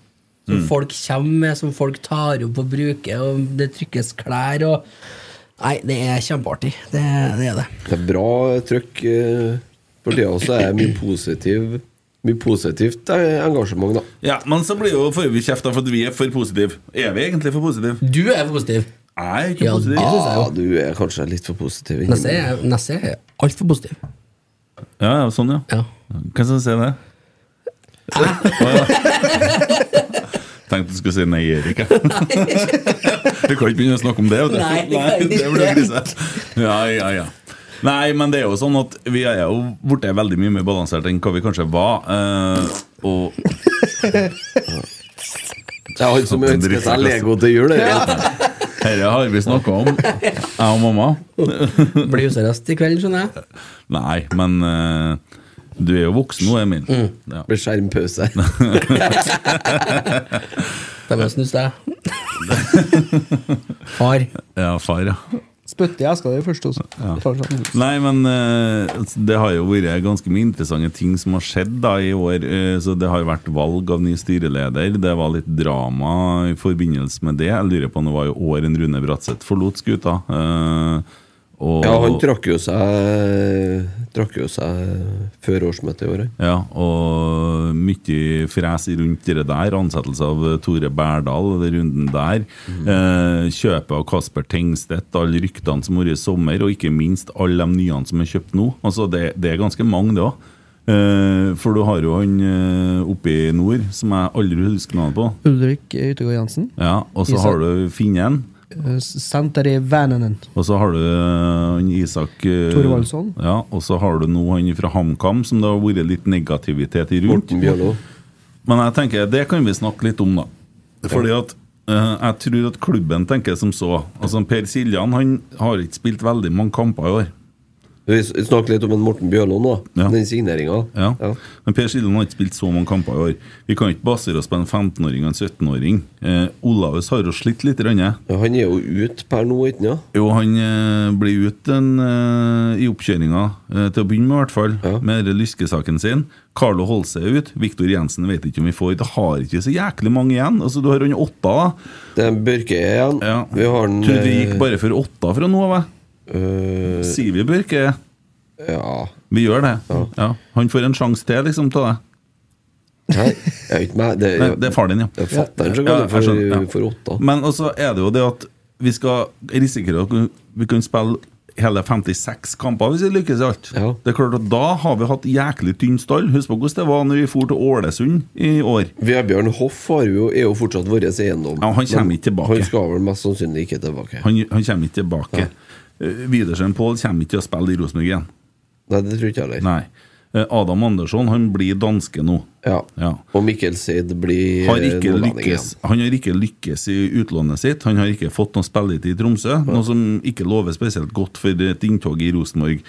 som folk kommer med, som folk tar opp og bruker, og det trykkes klær og Nei, det er kjempeartig. Det, det er det. Det er bra trøkk eh, for tida, og så er jeg mye positiv. Mye positivt eh, engasjement, da. Ja, Men så blir jo får vi kjeft da, for at vi er for positive. Er vi egentlig for positive? Du er positiv. Jeg er ikke Ja, positiv. det synes jeg Ja, jo. du er kanskje litt for positiv. Nesse er, Nesse er altfor positiv. Ja, ja, sånn, ja. Ja. Hvem som sier det? Å, ja. Tenkte du skulle si nei, Erik. jeg. Du kan ikke begynne å snakke om det. vet du. Nei, det kan jeg det ikke. blir å grise. Ja, ja, ja. Nei, men det er jo sånn at vi er jo blitt veldig mye mer balansert enn hva vi kanskje var. eh, og Det er han som ønsker seg Lego til jul. det er rett. dette har vi snakka om, jeg og mamma. Mm. Blir husarrest i kveld, skjønner jeg. Nei, men eh, du er jo voksen nå, Emil. Mm. Ja. Det blir skjermpause. Da må jeg snuse deg. Far. ja, far, ja. spytte i eska di først. Også. Kanskje. Nei, men eh, det har jo vært ganske mye interessante ting som har skjedd da i år. eh, så Det har vært valg av ny styreleder. Det var litt drama i forbindelse med det. Jeg lurer på om det var i år en Rune Bratseth forlot skuta. eh, og, Ja, han trakk jo seg Trakk jo seg før årsmøtet i år. han. Ja, og mye fres rundt det der. Ansettelse av Tore Berdal, den runden der. Eh, kjøpet av Kasper Tengstedt, alle ryktene som har vært i sommer, og ikke minst alle de nyene som er kjøpt nå. Altså, det, det er ganske mange, det òg. Eh, for du har jo han eh, oppe i nord, som jeg aldri husker navnet på. Ulrik Utegård Jensen. Ja, Og så Isak. har du Finnen. eh, Senter i Vänänen. Og så har du eh, han Isak eh, Thorvaldsson. Ja, og så har du nå han fra HamKam, som det har vært litt negativitet i rundt. Morten Bjørlo. Men jeg tenker, det kan vi snakke litt om, da. Fordi at eh, jeg tror at klubben tenker som så. Altså Per Siljan han har ikke spilt veldig mange kamper i år. Vi s- snakker litt om en Morten Bjørlo nå. Ja. Den signeringa. Ja. Men Per Siljan har ikke spilt så mange kamper i år. Vi kan ikke basere oss på en 15-åring og en 17-åring. Eh, Olaus har jo slitt litt. Rønne. Han er jo ute per nå, ikke sant? Jo, han eh, blir ute en, eh, i oppkjøringa, eh, til å begynne med i hvert fall, Ja. med denne lyskesaken sin. Carlo Holse er ute. Viktor Jensen vet ikke om vi får. Det har ikke så jæklig mange igjen. Altså, Du har han åtta, da. Det er Børke igjen. Ja. Vi har en, Tror du det gikk eh, bare for åtta fra nå av? jeg? øh, Sier vi Børke? eh, Ja Vi gjør det. Ja. Han får en sjanse til, liksom, til deg. Nei, jeg vet ikke meg. Det, Nei, det er faren din, ja. Jeg fatter den så Ja, godt jeg for, skjønner, ja. for åtta. Men også er det jo det at vi skal risikere at vi kan spille hele 56 kamper hvis vi lykkes i alt. Ja. Det er klart at Da har vi hatt jæklig tynn stall. Husk på hvordan det var når vi for til Ålesund i år. Vebjørn Hoff har jo, er jo fortsatt vår eiendom. Ja, han kommer ikke tilbake. Han skal vel mest sannsynlig ikke tilbake. Han, han kommer ikke tilbake. Eh, Widersen Pål kommer ikke til å spille i Rosenborg igjen. Nei, det tror ikke jeg heller. Nei. Eh, Adam Andersson han blir danske nå. Ja. Ja. Og Mikkel Seid blir har ikke nordlending lykkes, igjen. han har ikke lykkes i utlånet sitt. Han har ikke fått noe spilletid i Tromsø, noe som ikke lover spesielt godt for et inntog i Rosenborg.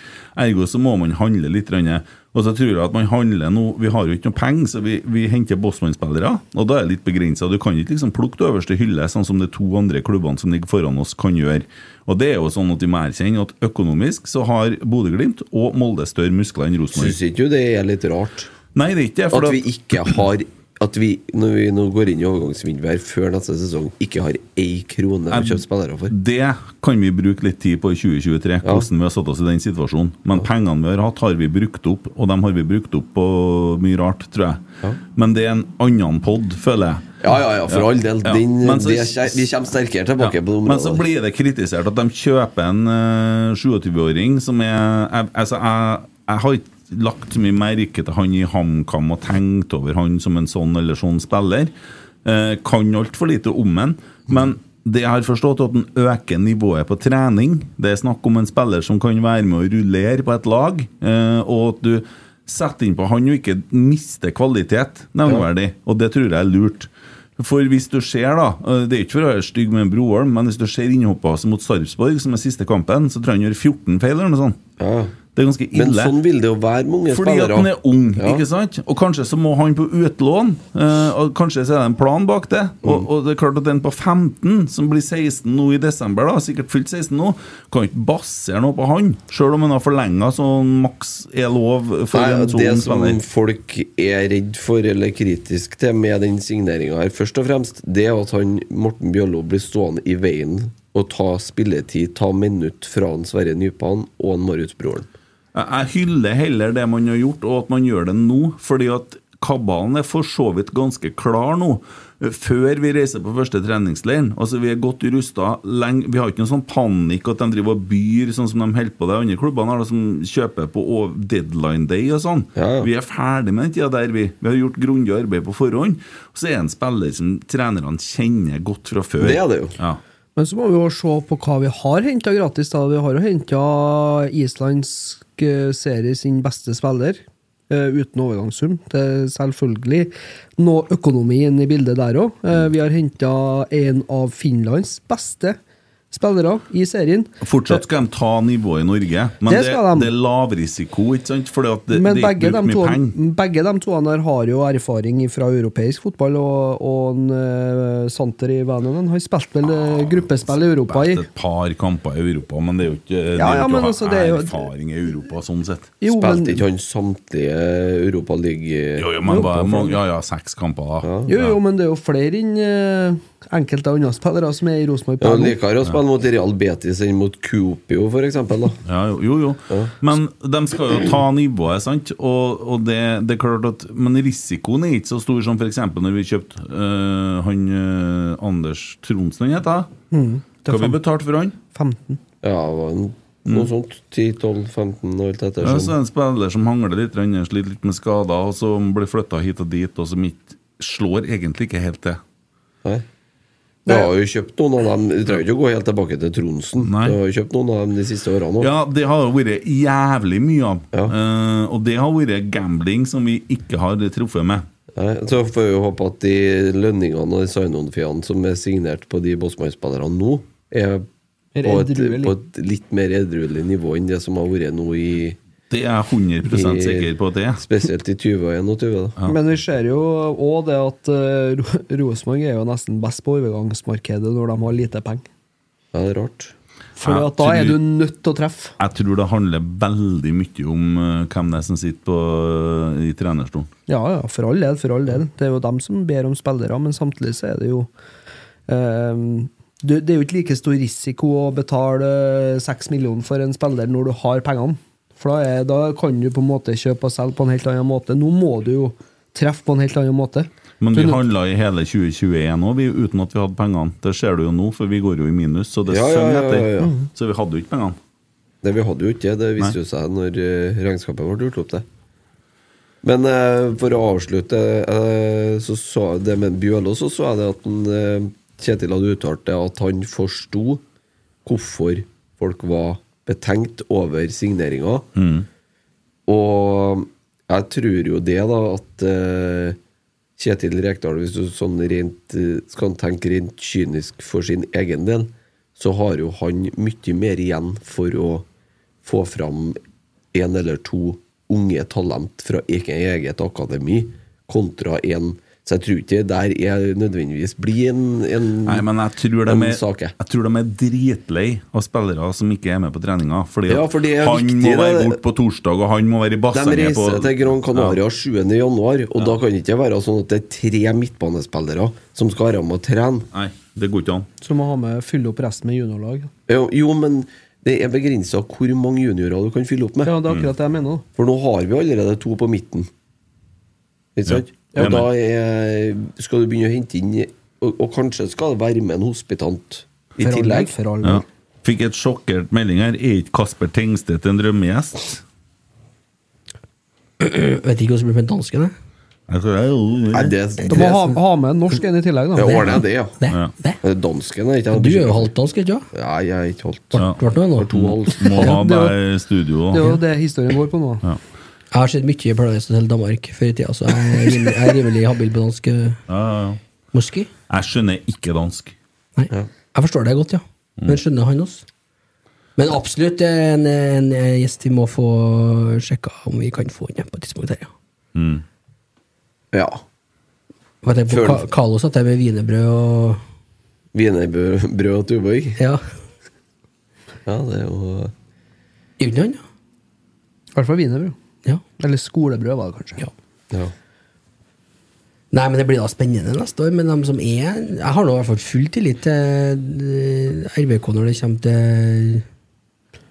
Ergo så må man handle litt. grann. Og så tror jeg at man handler nå Vi har jo ikke noe penger, så vi, vi henter Bosman-spillere. Og da er det litt begrensa. Du kan ikke liksom plukke det øverste hylle, sånn som de to andre klubbene som ligger foran oss, kan gjøre. Og det er jo sånn at vi må erkjenne at økonomisk så har Bodø-Glimt og Molde større muskler enn Rosenborg. Syns ikke jo det er litt rart Nei, det er ikke det. at For vi at- ikke har At vi, når vi nå går inn i overgangsvinduet her før neste sesong, ikke har ei krone å kjøpe spillere for. Det kan vi bruke litt tid på i 2023, hvordan vi har satt oss i den situasjonen. Men pengene vi har hatt, har vi brukt opp, og dem har vi brukt opp på mye rart, tror jeg. Men det er en annen pod, føler jeg. Ja, ja, ja, for Ja. all del. Ja. Den, Men så- det, vi kommer sterkere tilbake på det Men så området. blir det kritisert at de kjøper en eh, 27-åring som er jeg, Altså, jeg, jeg har ikke lagt så mye merke til han i HamKam og tenkt over han som en sånn eller sånn spiller. Eh, kan altfor lite om han. Men det jeg har forstått, er at han øker nivået på trening. Det er snakk om en spiller som kan være med å rullere på et lag, eh, og at du setter inn på han og ikke mister kvalitet nevneverdig. Og det tror jeg er lurt. For hvis du ser da, eh, det er ikke for å være stygg med en Broholm, men hvis du ser innhoppet hans mot Sarpsborg, som er siste kampen, så tror jeg han gjør 14 feil eller noe sånt. Ja. Det er ganske ille. Men sånn vil det jo være mange Fordi at spillere. han er ung, Ja. ikke sant? Og kanskje så må han på utlån. eh, og kanskje så er det en plan bak det. Mm. Og, og det er klart at den på 15, som blir 16 nå i desember, da, sikkert fylt 16 nå, kan ikke basere noe på han. Sjøl om han har forlenga sånn maks er lov for Nei, en det sånn som spiller. folk er redd for eller kritisk til med den signeringa her, først og fremst, det er at han Morten Bjøllo blir stående i veien og ta spilletid, ta minutt fra han Sverre Nypan og han Marit-broren. Jeg jeg hyller heller det man har gjort, og at man gjør det nå. fordi at kabalen er for så vidt ganske klar nå, eh, før vi reiser på første treningsleiren. Altså, Vi er godt rusta lenge. Vi har ikke noen sånn panikk at de driver og byr, sånn som de holder på de andre klubbene har, da, som kjøper på over- deadline day og sånn. Ja, ja. Vi er ferdig med den tida der, vi. Vi har gjort grundig arbeid på forhånd. Og så er det en spiller som trenerne kjenner godt fra før. Det er det jo. Ja. Men så må vi jo se på hva vi har henta gratis. da. Vi har jo henta islandsk eh, serie sin beste spiller, eh, uten overgangssum. Det er selvfølgelig noe Eh, økonomi inne i bildet der òg. Vi har henta en av Finlands beste spillere i serien. Fortsatt skal de ta nivået i Norge, men Det det, skal de. det er lavrisiko, ikke sant? Fordi at det, Men det er begge de, ikke brukt mye to, penger. begge de to der har jo erfaring fra europeisk fotball, og, og en, eh, Santer i Vananen har spilt vel Ah, eh, gruppespill i Europa i Spilt et par kamper i Europa, men det er jo ikke det er Ja, ja, jo ikke men å ha altså, det er jo- erfaring i Europa sånn sett. Jo, men- Spilte ikke han samtlige Europaliga Jo, jo, men bare, mange, ja, ja, seks kamper, da. Jo, jo, men det er jo flere enn eh, enkelte andre spillere som er i Rosenborg. Ja, på nå. liker å spille mot Real Betis enn mot Cupio, for eksempel. Da. Ja, jo, jo, jo. Men de skal jo ta nivået, sant? Og, og det, det er klart at Men risikoen er ikke så stor som f.eks. når vi kjøpte øh, han øh, Anders Tronsen, han heter det? Mm, Hva vi betalte for han? 15. Ja, det var en, noe sånt. 10-12-15 og alt etter. Mm. Ja, så sånn. er det en spiller som hangler litt, grann, sliter litt med skader, og som blir flytta hit og dit, og som ikke slår egentlig ikke helt til. Nei. Vi har jo kjøpt noen av dem. Vi trenger ikke å gå helt tilbake til Tronsen. Nei. Vi har jo kjøpt noen av dem de siste årene òg. Ja, det har jo vært jævlig mye av. Ja. Eh, og det har vært gambling som vi ikke har truffet med. Så får vi jo håpe at de lønningene og de sign-on-fiene som er signert på de Bosman-spillerne nå, er Mer på et, edruelig. på et litt mer edruelig nivå enn det som har vært nå i Det er jeg 100 sikker på at det er. Spesielt i 20 og 21, da. Men vi ser jo òg det at eh, Ro- Rosenborg er jo nesten best på overgangsmarkedet når de har lite penger. Ja, det er rart. For Ja, at da er tror- du nødt til å treffe. Jeg tror det handler veldig mye om eh, hvem det er som sitter på, eh, i trenerstolen. Ja, ja, for all del, for all del. Det er jo dem som ber om spillere, men samtidig så er det jo eh, du, Det er jo ikke like stor risiko å betale seks millioner for en spiller når du har pengene. For da, er, da kan du på en måte kjøpe og selge på en helt annen måte. Nå må du jo treffe på en helt annen måte. Men vi Du- handla i hele 2021 òg, uten at vi hadde pengene. Det ser du jo nå, for vi går jo i minus, så det Ja, ja, søng ja, etter. ja, ja. Så vi hadde jo ikke pengene. Nei, vi hadde jo ikke det. Det viste jo seg når eh, regnskapet ble gjort opp. det Men eh, for å avslutte eh, Så så jeg det med Bjølo, så så jeg det at han, eh, Kjetil hadde uttalt det at han forsto hvorfor folk var betenkt over signeringa. Og jeg tror jo det, da, at eh, Kjetil Rekdal, hvis du sånn rent, eh, skal tenke rent kynisk for sin egen del, så har jo han mye mer igjen for å få fram en eller to unge talent fra ikke eget akademi, kontra en Så jeg tror ikke der er nødvendigvis blir en, en Nei, men jeg tror, de en er, sak, jeg. jeg tror de er dritlei av spillere som ikke er med på treninga. Fordi Ja, at for det er han viktig, må være det- borte på torsdag, og han må være i De bassenget på reiser til Gran Canaria 7. januar, og da kan det ikke være sånn at det er tre midtbanespillere som skal være med og trene. Nei, det går ikke an. Så må ha med fylle opp resten med juniorlag. Jo, jo men det er begrensa hvor mange juniorer du kan fylle opp med. Ja, det er akkurat det jeg mener. da. For nå har vi allerede to på midten. Ikke sant? Ja, og da er, skal du begynne å hente inn Og, og kanskje skal det være med en hospitant i For all del, tillegg. For all Ja. del. Fikk et sjokkert melding her. Er ikke Kasper Tengstedt en drømmegjest? Jeg vet ikke hva som blir med dansken, jeg. Jeg tror det er jo- Nei, det, Du må ha, ha med en norsk en i tillegg, det da. ordner jeg, det, ja. Det, Ja. det. Dansken er ikke Du er jo halvt dansk, ikke sant? Nei, jeg er ikke halvt. Ja. Ble det noe To nå? halvt. Må ha det er jo- deg i studio. Det er da. jo det historien går på nå. Jeg har sett mye i Paradise Hotel Danmark før i tida, så jeg er rimelig- jeg er rimelig habil på dansk. øh, Ja, ja, ja. Moski? Jeg skjønner ikke dansk. Nei. Jeg forstår det godt, ja. Men skjønner han oss? Men absolutt det er en, en gjest vi må få sjekka om vi kan få inn på et tidspunkt her, ja. Ja. Hva tenker på Føler- Ka- Carlo satt der med wienerbrød og Wienerbrød og tuborg. Ja. Ja, det er jo Gjorde han det? I hvert fall wienerbrød. Ja. Eller skolebrød, var det kanskje. ja. ja. Nei, men Det blir da spennende neste år. Men de som er Jeg har nå i hvert fall full tillit til eh, RBK når det kommer til eh,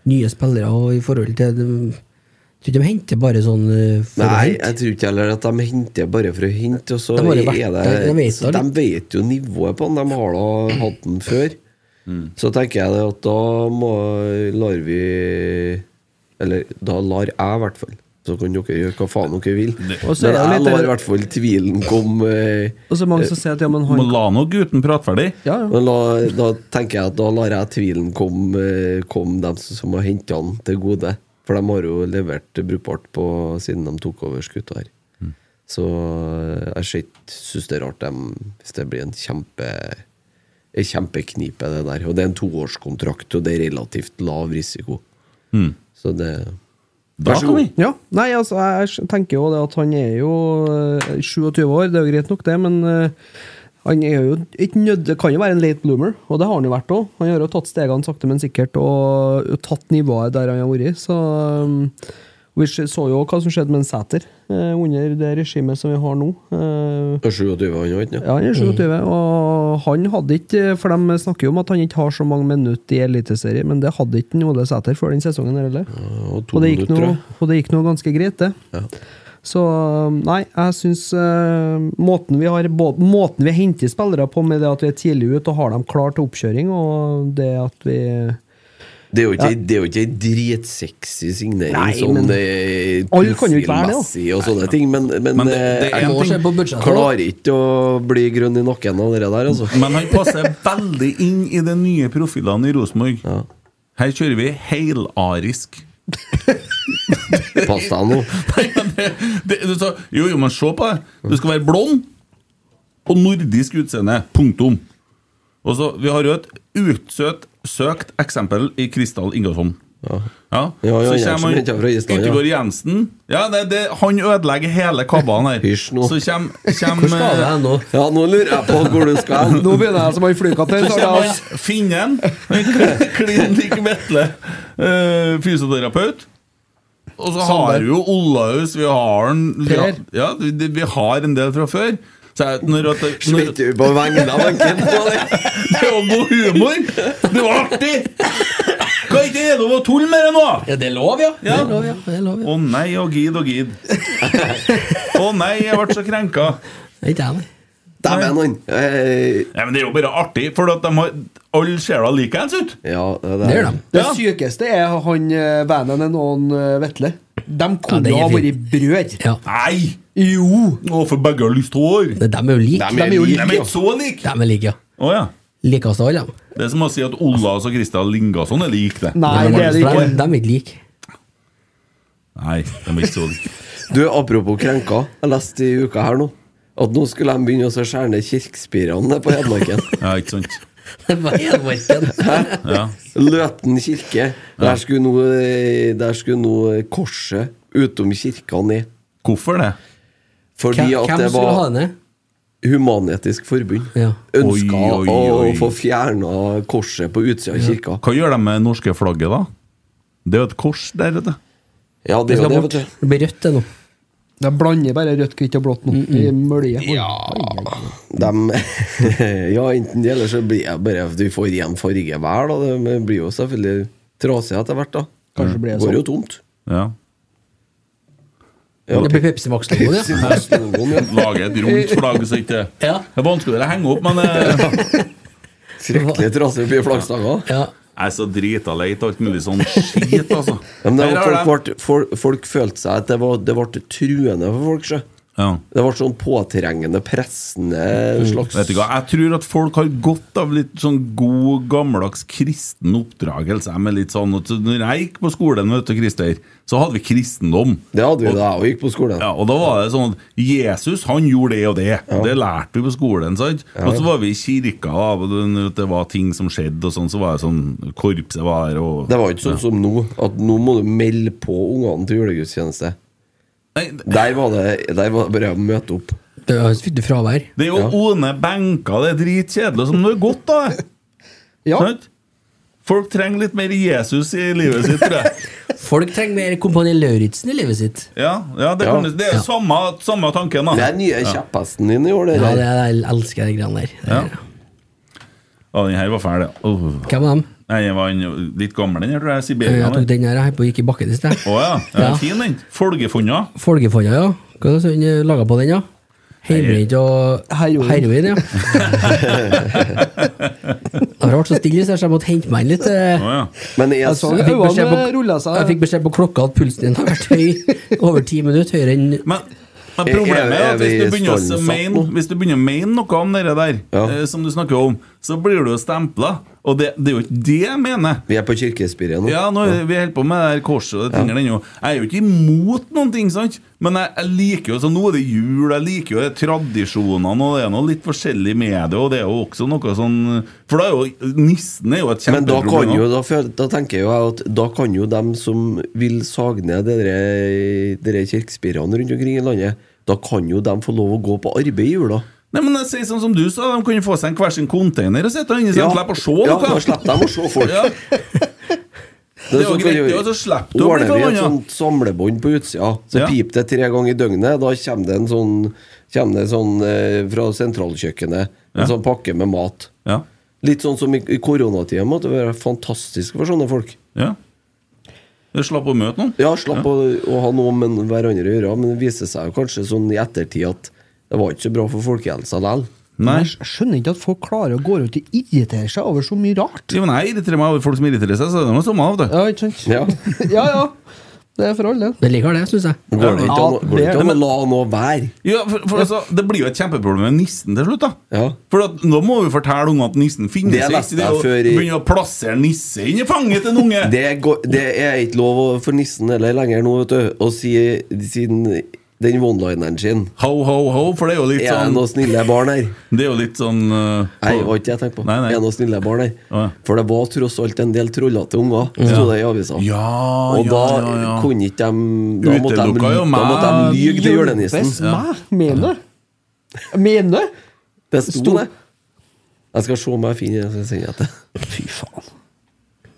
nye spillere og i forhold til de, Jeg tror ikke de henter bare sånn eh, for å Nei, hente. jeg tror ikke heller at de henter bare for å hente. Og så De har jo vært er det, der, de vet så da de litt. vet jo nivået på den. De har da hatt den før. Så tenker jeg det at da må, lar vi Eller da lar jeg, i hvert fall. Så kan dere gjøre hva faen dere vil. Og så er Men det jeg litt- lar i hvert fall tvilen komme. eh, Og så er det mange som sier at ja, men Må han la nå gutten prate ferdig. ja, ja. Men la, da tenker jeg at da lar jeg tvilen komme, eh, komme dem som- som har henta han, til gode. For de har jo levert brukbart på siden de tok over skuta her. Mm. Så eh, jeg ser ikke- synes det er rart dem, hvis det blir en kjempe er kjempeknipe, det der. Og det er en toårskontrakt, og det er relativt lav risiko. Mm. Så det Da så kan vi. Ja, nei, altså, jeg sk- tenker jo det at han er jo eh, 27 år, det er jo greit nok det, men eh, han er jo ikke nødt, det kan jo være en late bloomer, og det har han jo vært òg. Han har jo tatt stegene sakte, men sikkert, og tatt nivået der han har vært. Så um, vi s- så jo hva som skjedde med en Sæter eh, under det regimet som vi har nå. Eh, Og 27 han òg, ikke ja, han er 27, og han hadde ikke For de snakker jo om at han ikke har så mange minutter i Eliteserien, men det hadde ikke Ole Sæter før den sesongen her heller. Og to Og det, gikk minutter, noe, tror jeg. og det gikk noe ganske greit, det. Ja. Så um, nei, jeg syns måten vi har bå- Måten vi henter spillere på med det at vi er tidlig ute og har dem klar til oppkjøring, og det at vi Det er jo ikke, det er jo ikke en dritsexy signering Nei, som men- det er Alle kan jo ikke være det, da. Messi og sånne ting, men, Men men, det- det er eh, en Må ting- se på budsjettet. da. klarer ikke å bli grønn i nakken av det der, altså. Men han passer veldig inn i de nye profilene i Rosenborg. Ja. Her kjører vi helarisk. Pass deg nå. Nei, men det, det, du sa, jo, jo, men se på det. Du skal være blond og nordisk utseende. Punktum. Og så, Vi har jo et utsøkt søkt eksempel i Kristal Ingolfsson. Ja. Ja, ja, så Jensen kommer henter fra Island, ja. Utegård Jensen. Ja, det, det, Han ødelegger hele kabalen her. Hysj nå. Så eh, kommer, kommer Hvor skal det hen nå? Ja, nå lurer jeg på hvor du skal hen. Nå begynner jeg som han flykaptein! Så kommer han finnen, en klin lik metle eh, fysioterapeut. Og så har vi jo Olaus, vi har en, vi har, Per. ja, vi, det- vi har en del fra før. Så jeg, når at, når, Smitter du på vegne av en kid på det? det var god humor! Det var artig! Kan ikke det lov å tulle med det nå? Ja, det er lov, ja! Det er lov, ja. Det er lov, Å ja. nei og gid og gid. Å nei, jeg ble så krenka. Det er ikke jeg, nei. Dæven, han! Eh, Nei, men Det er jo bare artig, for at de har, alle ser da likeens ut. Ja, Det gjør de. Det Ja. sykeste er han eh, Vananen og han eh, Vetle. De Ja, kunne det er ha vært fint. brød! Ja. Nei! Jo! Å, for begge har lyst hår. Men De er jo like. De er jo De er ikke så like. De er like, ja. Å ja. Likeste av alle, de. Det er som å si at Ollas og Kristian Lingasson er lik det. Nei, det er det For ikke. De de er ikke like. Nei, de er ikke så like. Du, apropos krenka. Jeg leste i uka her nå at nå skulle de begynne å så skjære ned kirkespirene på Hedmarken. Ja, ikke sant? Det var Hedmarken. Ja. Løten kirke. Der skulle nå, eh, der skulle nå eh, korset utom kirka ned. Hvorfor det? Fordi Hvem at hvem det skulle ha var den ned? Human-Etisk Forbund Ja. ønska Oi, oi, oi. å få fjerna korset på utsida av kirka. Hva gjør de med det norske flagget, da? Det er jo et kors der, vet du. Ja, Det det er skal jo det, bort. vet du. Det blir rødt, det nå. De blander bare rødt, hvitt og blått nå. I mølje. De, ja, enten det, eller så blir jeg bare Vi får én farge hver, da. Det men blir jo selvfølgelig trasig etter hvert, da. Kanskje blir det Går jo sånn. tomt. Ja. Ja. Det blir Pepsi Max-logoen, ja. Slogan, ja. Lage et rundt flagg, så ikke Ja. Det er vanskeligere å henge opp, men eh, Skrekkelig trasig på flaggstanga. ja. Jeg er så drita leit alt mulig sånn skit, altså. Ja, men det Her var, har folk, vart- folk, folk følte seg at det var- det ble truende for folk. Sjø. de- ja. Det ble sånn påtrengende, pressende slags Mm. Vet du hva, Jeg tror at folk har godt av litt sånn god, gammeldags kristen oppdragelse. Med litt sånn, at når jeg gikk på skolen, vet du, Christer, så hadde vi kristendom. Det hadde vi da jeg gikk på skolen. Ja, og da var det sånn at Jesus han gjorde det og det. Det lærte vi på skolen. sant? Og så var vi i kirka, da, og det- det var ting som skjedde, og sånn, så var det sånn Korpset var her, og Det var jo ikke sånn som nå, at nå må du melde på ungene til julegudstjeneste. Nei, det Der var det, der var det bare å møte opp. Det er fikk du fravær. det er jo Ja. one benker, det er dritkjedelig. Som det er godt, da. det. Ja. Sant? Folk trenger litt mer Jesus i livet sitt, tror jeg. Folk trenger mer Kompani Lauritzen i livet sitt. Ja, ja, det, kan, Ja. du- det er Ja. samme, samme tanken, da. Det er den nye kjepphesten din i år, det Ja, det, der. jeg elsker de greiene der. Ja. Ja, den her var fæl, ja. Åh. Hvem av dem? Nei, den var en- litt gammel, den her, tror jeg. Siberia. Jeg tok den. den her jeg gikk i bakken i sted. Å ja. ja. Ja. Fin, den. Folgefonda. Folgefonda, ja. Hva er det hun laga på den, da? Hjemmebrent og Heroin. heroin, ja. Det har vært så stille, så jeg måtte hente meg inn litt. eh. Å ja. Men jeg, Jeg så jeg, fikk beskjed øynene på- rulla seg. Jeg fikk beskjed på klokka at pulsen din har vært høy over ti minutter. Høyere enn Men, men problemet er at Er vi- er hvis du vi begynner å stanset mene nå? Hvis du begynner å mene noe om det der, Ja. eh, som du snakker om, så blir du stempla. Og det, det er jo ikke det jeg mener. Vi er på kirkespiret nå. Ja, nå, er- vi holder på med det her korset og de tingene ennå. Jeg er jo ikke imot noen ting, sant? Men jeg, jeg liker jo så nå er det jul, jeg liker jo det tradisjonene, og det er noe litt forskjellig med det, og det er jo også noe sånn For da er jo nissen er jo et Men da, kan kjempeproblem. jo, da, føl- da tenker jo jeg at da kan jo dem som vil sage ned de der- de der kirkespirene rundt omkring i landet, da kan jo dem få lov å gå på arbeid i jula. Nei, men jeg sier sånn som du sa, de kan jo få seg en hver sin container og sitte inni seg og slippe å se ja, da noe. slipper de å se folk. Ja, Det er sånn jo greit, det er jo så slipper du å bli Ordner vi et forbanna. sånt samlebånd på utsida, så Ja. piper det tre ganger i døgnet. Da kommer det en sånn, kommer det sånn eh, fra sentralkjøkkenet, en Ja. sånn pakke med mat. ja, Litt sånn som i, i koronatida måtte det være fantastisk for sånne folk. ja. Du slapp å møte noen? Ja, slapp Å, å ha noe med hverandre å gjøre, men det viser seg jo kanskje sånn i ettertid at det var ikke så bra for folkehelsa likevel. Nei. Jeg skj- skjønner ikke at folk klarer å gå rundt og irritere seg over så mye rart. Jo, men jeg irriterer meg over folk som irriterer seg, så det er noe samme av det. Ja, ikke sant? Ja. ja, ja. Det er for all del. Det liker det, syns jeg. Går det ikke an, Ja, går det det- ikke an å la noe være? Ja, for, for altså, Det blir jo et kjempeproblem med nissen til slutt. da Ja. For at, Nå må vi fortelle ungene at nissen finnes Det leste jeg å før i- begynne å plassere nisse inn i fanget til en unge! Det, går, det er ikke lov å- for nissen heller lenger nå, vet du, å si siden den one-lineren sin. Ho, ho, ho, for det er jo litt Er det sånn noen snille barn her? Det er jo litt sånn uh, Nei, det var ikke det jeg tenkte på. Nei, nei. Er det noen snille barn her? Å, ja. For det var tross alt en del trollete unger, sto det i avisa. Ja, Og ja, da ja, ja. kunne ikke de Da måtte de, Utelukka jo da måtte meg. de lyge til julenissen. Hjelpes meg, mener du? Mener du? Det sto Sto- det. Jeg skal se om jeg finner det. så skal jeg sende det. til. Fy faen.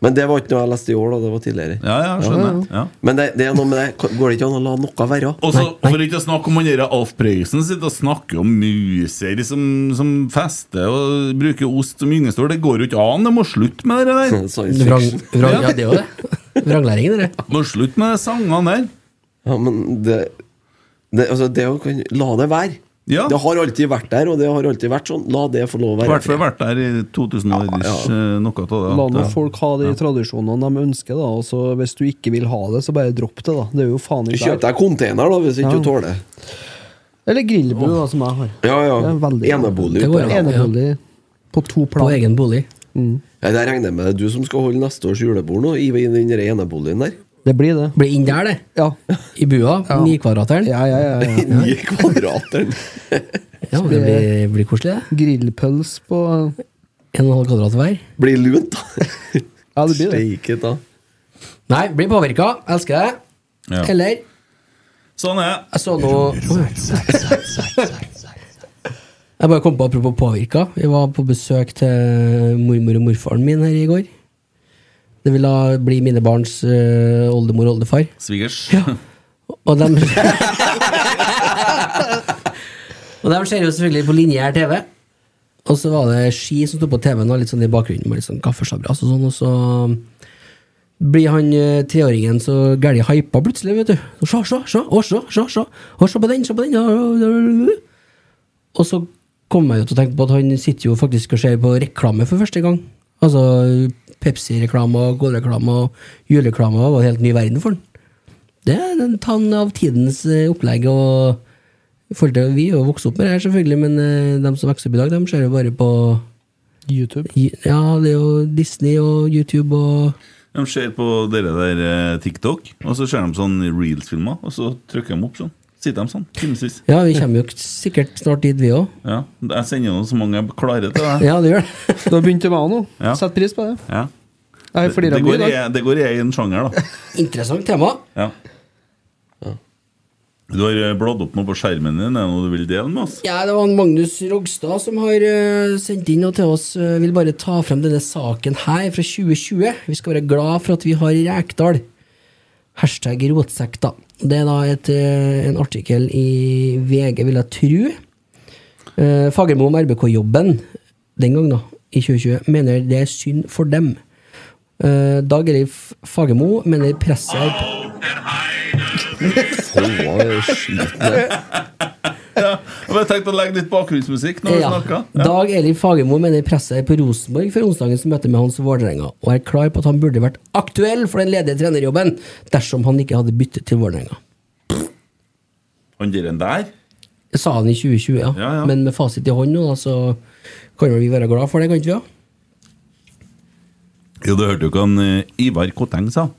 Men det var ikke noe jeg leste i år, da. Det var tidligere. Ja, ja, skjønner. Ja. Men det, det er noe med det. Går det ikke an å la noe være? Og så, for ikke å snakke om han der Alf Prøysen, sitter og snakker om muser som, som fester og bruker ost som gyngestol. Det går jo ikke an! Det må slutte med det der! Science Vrang, fiction. vrang, ja, det er jo det. Vranglæringen, det. Må slutte med de sangene der. Ja, men det, det, altså, det å kunne La det være. Ja. Det har alltid vært der, og det har alltid vært sånn. La det få lov å I være. hvert fall vært der i 2000 og ish, eh, noe av det. La nå Ja. folk ha de tradisjonene de ønsker, da. Og så hvis du ikke vil ha det, så bare dropp det, da. Det er jo faen ikke Kjøp der. deg container, da, hvis ikke Ja. du tåler det. Eller grillbu, da, som jeg har. Ja, ja. Det er veldig- Enebolig. Det ute. går an. Ja, Enebolig på to På plan. egen bolig. Jeg regner med det er du som skal holde neste års julebord nå, i den der eneboligen der. Det blir det. Blir inn der, det. Ja. I bua. Nikvadrateren. Ja, ja, ja. ja. Ni kvadrater. Ja, det blir, blir koselig, det. Grillpøls på En og en halv kvadrat hver. Blir lunt, da. Ja, det blir det. Steike ta. Nei, blir påvirka. Elsker det. Ja. Eller Sånn er det. sånn. Jeg så noe Jeg bare kom på apropos påvirka. Vi var på besøk til mormor og morfaren min her i går. Det ville bli mine barns eh, oldemor og oldefar. Svigers. Og de Og de ser jo selvfølgelig på linjær TV. Og så var det ski som sto på TV-en, og litt sånn i bakgrunnen med litt sånn kaffesabras og sånn, og så blir han eh, treåringen så gæli hypa plutselig, vet du. Så, se, se, se, å, se, se, se, å, se på den, se på den. ja. Og så kom jeg jo til å tenke på at han sitter jo faktisk og ser på reklame for første gang. Altså Pepsi-reklame og Gold-reklame og julereklame og det var en helt ny verden for han. Det er en tann av tidens eh, opplegg. og i forhold til, Vi er jo vokst opp med det her, selvfølgelig, men eh, de som vokser opp i dag, de ser jo bare på YouTube. Ja, det er jo Disney og YouTube og De ser på dere der eh, TikTok, og så ser de sånn reels-filmer, og så trykker de opp sånn. Sitter de sånn timevis. Ja, vi kommer jo k- sikkert snart dit, vi òg. Ja. Jeg sender jo så mange jeg klarer til deg. Ja, det gjør det. Du har begynt med meg nå. Ja. Sett pris på det. Ja. Jeg Det, flirer mye det, i går i, dag. det går i en sjanger, da. Interessant tema. Ja. Du har eh, bladd opp noe på skjermen din. Er det noe du vil dele med oss? Ja, Det var en Magnus Rogstad som har eh, sendt inn og til oss. eh, vil bare ta frem denne saken her fra 2020. Vi skal være glad for at vi har Rekdal. Hashtag rotsekk, da. Det er da et, eh, en artikkel i VG, vil jeg tro. Eh, Fagermo om RBK-jobben den gang, da, i 2020, mener det er synd for dem. Eh, Dag Elif Fagermo mener presset er på Hva skit det Jeg har tenkt å legge litt bakgrunnsmusikk når vi Ja. snakker. Ja. Dag Elif Fagermo mener presset er på Rosenborg før onsdagens møte med Hans Vålerenga, og er klar på at han burde vært aktuell for den ledige trenerjobben dersom han ikke hadde byttet til Vålerenga. Han der enn der? Jeg sa den i 2020, ja. Ja, ja. Men med fasit i hånd nå, da, så kan vel vi være glad for det, kan ikke vi? Ja? Jo, du hørte jo hva han, eh, Ivar Koteng sa.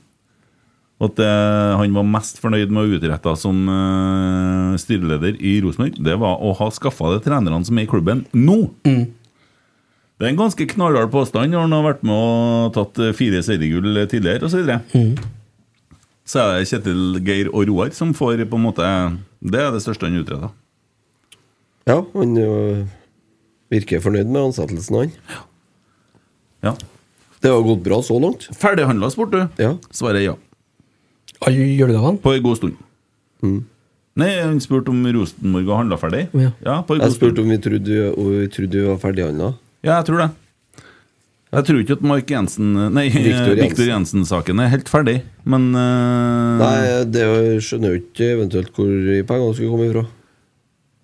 At eh, han var mest fornøyd med å utrette som eh, styreleder i Rosenborg, det var å ha skaffa de trenerne som er i klubben, nå! Det er en ganske knallhard påstand når han har vært med og tatt eh, fire seriegull tidligere osv. Så, videre. så er det Kjetil, Geir og Roar som får på en måte Det er det største han utretta. Ja, han ø, virker fornøyd med ansettelsen, han. Ja. Det har gått bra så langt. Ferdighandla sport, du. Ja. Svaret er ja. Alle julegavene? På en god stund. mm. Nei, han spurte om Rosenborg har handla ferdig. Ja. på en Jeg god stund. spurte om vi trodde, om vi trodde vi var ferdighandla. Ja, jeg tror det. Jeg tror ikke at Mark Jensen Nei, Victor Viktor Jensen. Jensen-saken er helt ferdig, men eh, Nei, det skjønner jo ikke eventuelt hvor pengene skulle komme ifra.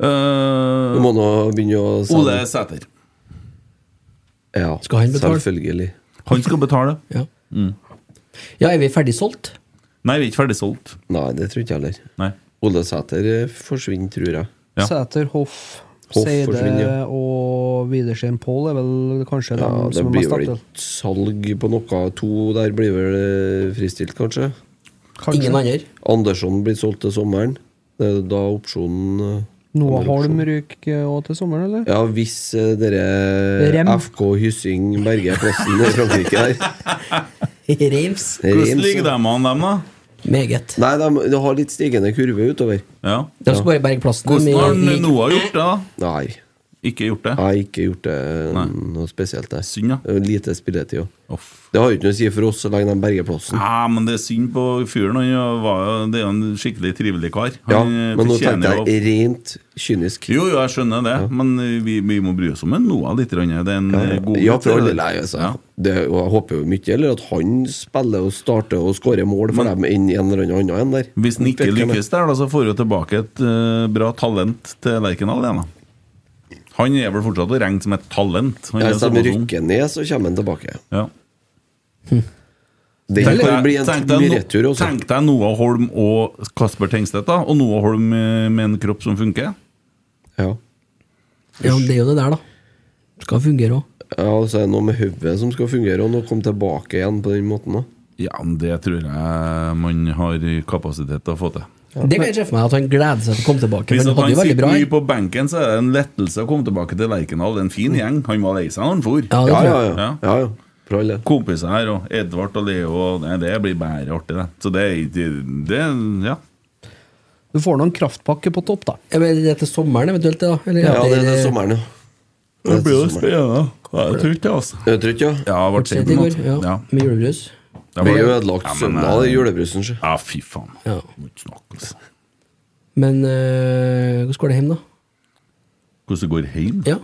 eh, Du må nå begynne å Ole selge. Sæter. Ja, Skal han betale? Selvfølgelig. Han skal betale. Ja. Mm. ja, er vi ferdig solgt? Nei, vi er ikke ferdig solgt. Nei, det tror ikke jeg heller. Nei. Ole Sæter ø, forsvinner, tror jeg. Ja. Sæter, Hoff, Hoff forsvinner, Seide ja. og Widersen Pål er vel kanskje Ja, de Det som er blir mest vel aktuelle. ikke salg på noe to der, blir vel ø, fristilt, kanskje? Kanskje. Ingen andre? Andersson blir solgt til sommeren. Det er da opsjonen ø, Noah kommer opsjon. Holm ryker òg til sommeren, eller? Ja, hvis eh, dere Rem. FK Hyssing berger plassen i Frankrike der. Reims? Hvordan Reims, ligger de ja. an, dem, da? Meget. Nei, de, de har litt stigende kurve utover. Ja. De skal bare berge plassen. Hvordan har i- i- han Noah gjort det, da? Nei, Ikke gjort jeg det? har ikke gjort det eh, Nei. noe spesielt der. Synd, da. Det er Lite spilletid òg. Uff. Det har jo ikke noe å si for oss så lenge de berger plassen. Ja, men det er synd på fyren. Han var jo, det er jo en skikkelig trivelig kar. Han Ja, eh, men nå fortjener tenkte jo- jeg rent kynisk. Jo, jo, jeg skjønner det, men eh, vi, vi må bry oss om en Noah litt. grann. Det er en eh, god Ja, for alle gutt, lei, altså. Ja. Det, og jeg håper jo mye eller at han spiller og starter og skårer mål for dem enn en eller annen enn der. Hvis den ikke lykkes der, da, så får du tilbake et eh, bra talent til Lerkendal igjen. da. Han er vel fortsatt å regne som et talent. Han er Hvis de såpass ung. rykker ned, så kommer han tilbake. Ja. Det Tenk kan deg- bli en tenk deg mye no- retur også. Tenk deg Noah Holm og Kasper Tengstedt, da. Og Noah Holm eh, med en kropp som funker. Ja. Ja, men det er jo det der, da. Skal fungere òg. Ja, og så er det noe med hodet som skal fungere, og nå komme tilbake igjen på den måten. da Ja, men det tror jeg man har kapasitet til å få til. Det kan jeg se for meg, at han gleder seg til å komme tilbake. Hvis For at han han hadde jo veldig sitter bra mye på benken, så er det en lettelse å komme tilbake til Lerkendal. Det er En fin gjeng. Han var lei seg når han for. Mm. Ja, det Ja, tror ja, jeg. ja. ja, ja. For all del. kompiser her, og Edvard og Leo og Nei, det blir bare artig, det. Så det, er- det, det Ja. Du får noen kraftpakke på topp, da. Ja, men er det til sommeren eventuelt, det, da? Eller, Ja, det er det eller- sommeren, ja. Det er til sommeren. spennende. Jeg tror ikke det, altså. Er du trøtt, ja? Ja, jeg ble Fortsett sent i på går. natt. Ja, Ja. Med julebrus. Jeg Blir jo ble- ødelagt Ja, men, søndag, det eh, er julebrusen, sjø. Ja, fy faen. Ja. Må ikke snakke, altså. Men øh, hvordan går det hjem, da? Hvordan det går hjem? Ja.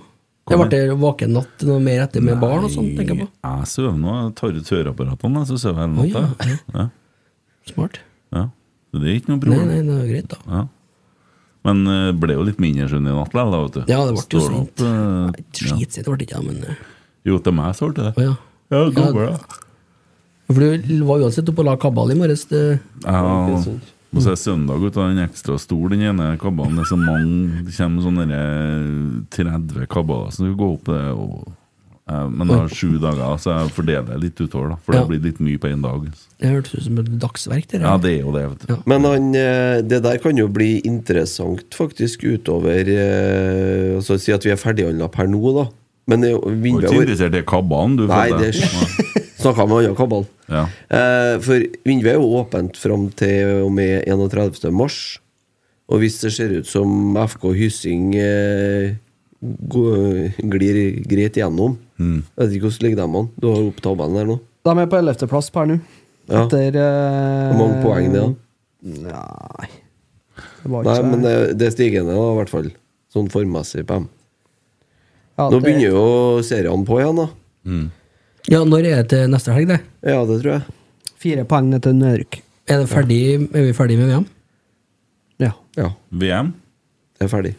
Jeg ble vaken natt noe mer etter med barn og sånn, tenker jeg på. Nei, Jeg sover nå. Jeg tar ut høreapparatene, så sover jeg en Å, natt. jeg. Ja. Smart. Ja. Så det er ikke noe Nei, problem. nei, det er greit, da. Ja. Men eh, ble jo litt mindre søvn i natt likevel, da, vet du. Ja, det ble jo Står sent. opp, eh, Nei, Dritsent ble det ikke, da, men øh, Jo, til meg så ble det Å det. ja. Ja, det Ja. går bra. For du var uansett oppe og la kabal i morges. det- Ja, og så er søndag ut av den ekstra stor, den ene kabalen. Det er så mange, det kommer sånne der 30 kabaler som skal gå opp det. Og, eh, men jeg har sju dager, så jeg fordeler det litt utover, da. For Ja. det blir litt mye på én dag. Det hørtes ut som et dagsverk, det der. Ja, det er jo det, vet du. Ja. Men han, eh, det der kan jo bli interessant faktisk utover eh, Altså si at vi er ferdighandla per nå, da. Men det er Du jo- er vinduet ikke vårt interessert i kabalen, du? Nei, føler det jeg. snakka med Anja Kabal. Ja. Eh, for vinduet er jo åpent fram til og med 31. mars. Og hvis det ser ut som FK Hyssing eh, gå- glir greit gjennom Mm. Jeg vet ikke hvordan ligger de an. Du har opp tabellen der nå. De er på 11.-plass per nå. Ja. Etter eh, Hvor mange poeng det er? Nei Det var ikke Nei, så- men eh, det, det er stigende, da, i hvert fall. Sånn formmessig på dem. ja, Nå det- begynner jo seriene på igjen, da. Ja, når er det til neste helg, det? Ja, det tror jeg. Fire poeng ned til nedrykk. Er, det ferdig, er vi ferdig med VM? Ja. Ja, VM? det er ferdig.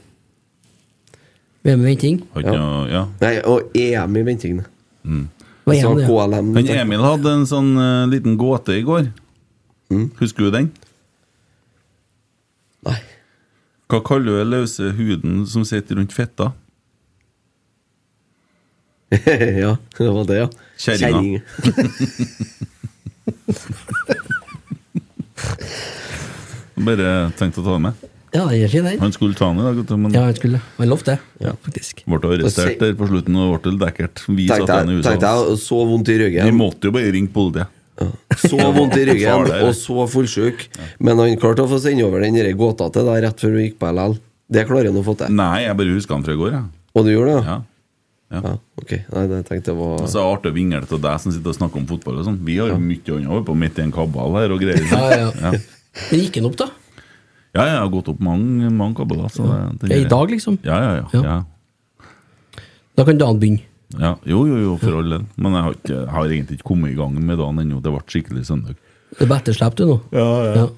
VM med venting? Har ikke Ja. noe Ja. Nei, og EM i ventingen. Hva er Altså det, ja? KLM. Han Emil hadde en sånn eh, liten gåte Mm. i går. Husker du den? Nei. Hva kaller du den løse huden som sitter rundt fetta? ja, det var det, ja. Kjerringa. Kjerring. Bare tenkte å ta den med. Ja, den er fin, den. Han skulle ta den i dag, vet du, men Ja, han skulle Han lovte det, faktisk. ble arrestert der på slutten og ble lekkert. Vi satt Tenkte igjen i jeg, tenkte USA. jeg, og så vondt i Vi ryggen. måtte jo bare ringe politiet. Så vondt i Far ryggen, der. og så fullsjuk. Men han klarte å få sende over den der gåta til deg rett før du gikk på LL. Det klarer han å få til. Nei, jeg bare husker han fra i går, jeg. Og du gjorde det? Ja. Altså, Ja, ok. Nei, det tenkte jeg var Og så er det artig å vingle til deg som sitter og snakker om fotball og sånn. Vi har jo mye annet over på midt i en kabal her og greier. Ja, ja. Ja. Men gikk den opp, da? Ja, jeg har gått opp mange, mange kabbaler. Så det, det Ja, gjør I jeg. dag, liksom? Ja, ja, ja. Ja. ja. Da kan dagen begynne. ja. Jo, jo, jo, for all del. Men jeg har, ikke, har egentlig ikke kommet i gang med dagen ennå. Det ble skikkelig søndag. Det er på etterslep, du, nå. Ja, Ja.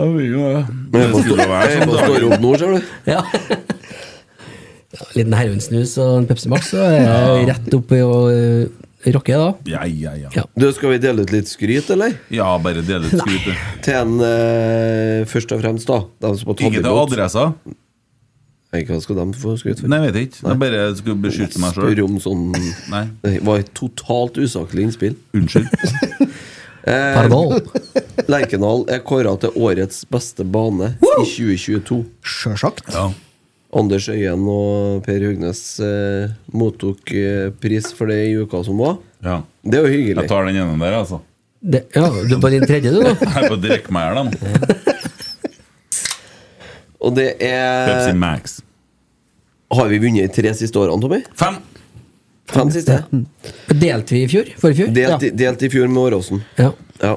Jeg vil jo det. Men jeg må stå- skulle være jeg sånn, må stå da. opp nå, ser du. ja. Ja, en liten heroinsnus og en Pepsi Max, så er jeg rett oppi og uh, rocker, jeg, da. Ja, ja, ja. Ja. Du, skal vi dele ut litt skryt, eller? Ja, bare del ut skrytet. Til en eh, først og fremst, da. De som har tatt Ikke til imot. adressa. Nei, Hva skal de få skryt for? Nei, jeg vet ikke. Jeg bare skulle beskytte meg sjøl. Spør om sånn Nei, Det var et totalt usaklig innspill. unnskyld. Pardon. Lerkendal er kåra til årets beste bane i 2022. Sjølsagt. Ja. Anders Øyen og Per Hugnes eh, mottok eh, pris for det i uka som var. ja. Det er jo hyggelig. Jeg tar den ene der, altså. Det, ja, du er på din tredje, du, nå? Jeg er på å drikke meg i hjel, da. Og det Pepsi er Max. Har vi vunnet tre siste årene, Tommy? Fem! Fem siste? Delte vi i fjor? Forrige fjor? Delt, i- delt i fjor med Åråsen. Ja. Ja.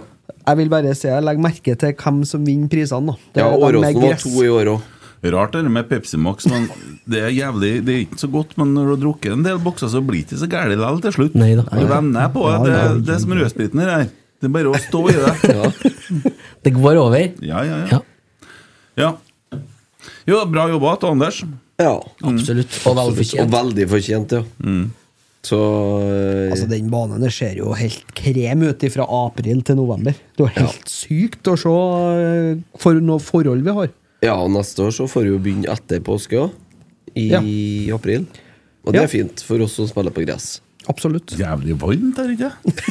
Jeg vil bare si, jeg legger merke til hvem som vinner prisene. da. Det ja, er de med Åråsen var gress. to i år òg. Rart det der med Pepsi Max, men det er jævlig Det er ikke så godt, men når du har drukket en del bokser, så blir det ikke så gærent likevel til slutt. Nei da. Du venner på det. Det, det er som rødspriten her. Det er bare å stå i det. Det går over. Ja, ja, ja. Ja, ja. Jo, bra jobba til Anders. Ja. absolutt. Og Og velfortjent. veldig fortjent, ja. Mm. Så eh, Altså, Den banen der ser jo helt krem ut fra april til november. Det er jo helt sykt å se eh, for noe forhold vi har. Ja, og neste år så får vi jo begynne etter påske òg. I april. Og det Ja. er fint for oss som spiller på gress. Absolutt. Jævlig varmt, er det ikke? det?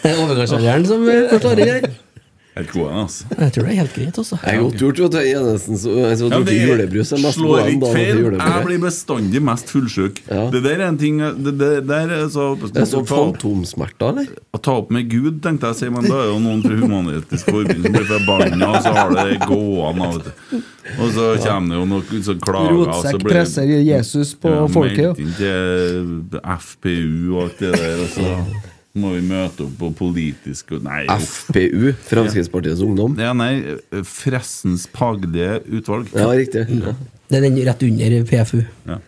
Det er overgangsalderen som eh, forstår det der. Helt god, en, altså. Jeg tror det er helt greit, altså. Det er godt gjort, vet du. Enesen som en Ja, som har drukket julebrus, er mest slår gåen da ikke han feil. får Jeg julebrus. blir bestandig mest fullsjuk. Ja. Det der er en ting Det, det der er så Det er sånn ta opp- fantomsmerter, eller? Å ta opp med Gud, tenkte jeg å si, men da er jo noen fra Human-Etisk Forbund som blir forbanna, og så har det det gående av og til. Og så kommer det jo noen som klager, og så Rotsekk blir presser Jesus på Ja, folket. Meldt inn til FPU og alt det der, og så må vi møte opp på politisk og Nei. jo. FPU, Fremskrittspartiets Ungdom. Ja, nei, Fressens faglige utvalg. Ja, riktig. Ja. Det er den rett under PFU. jo.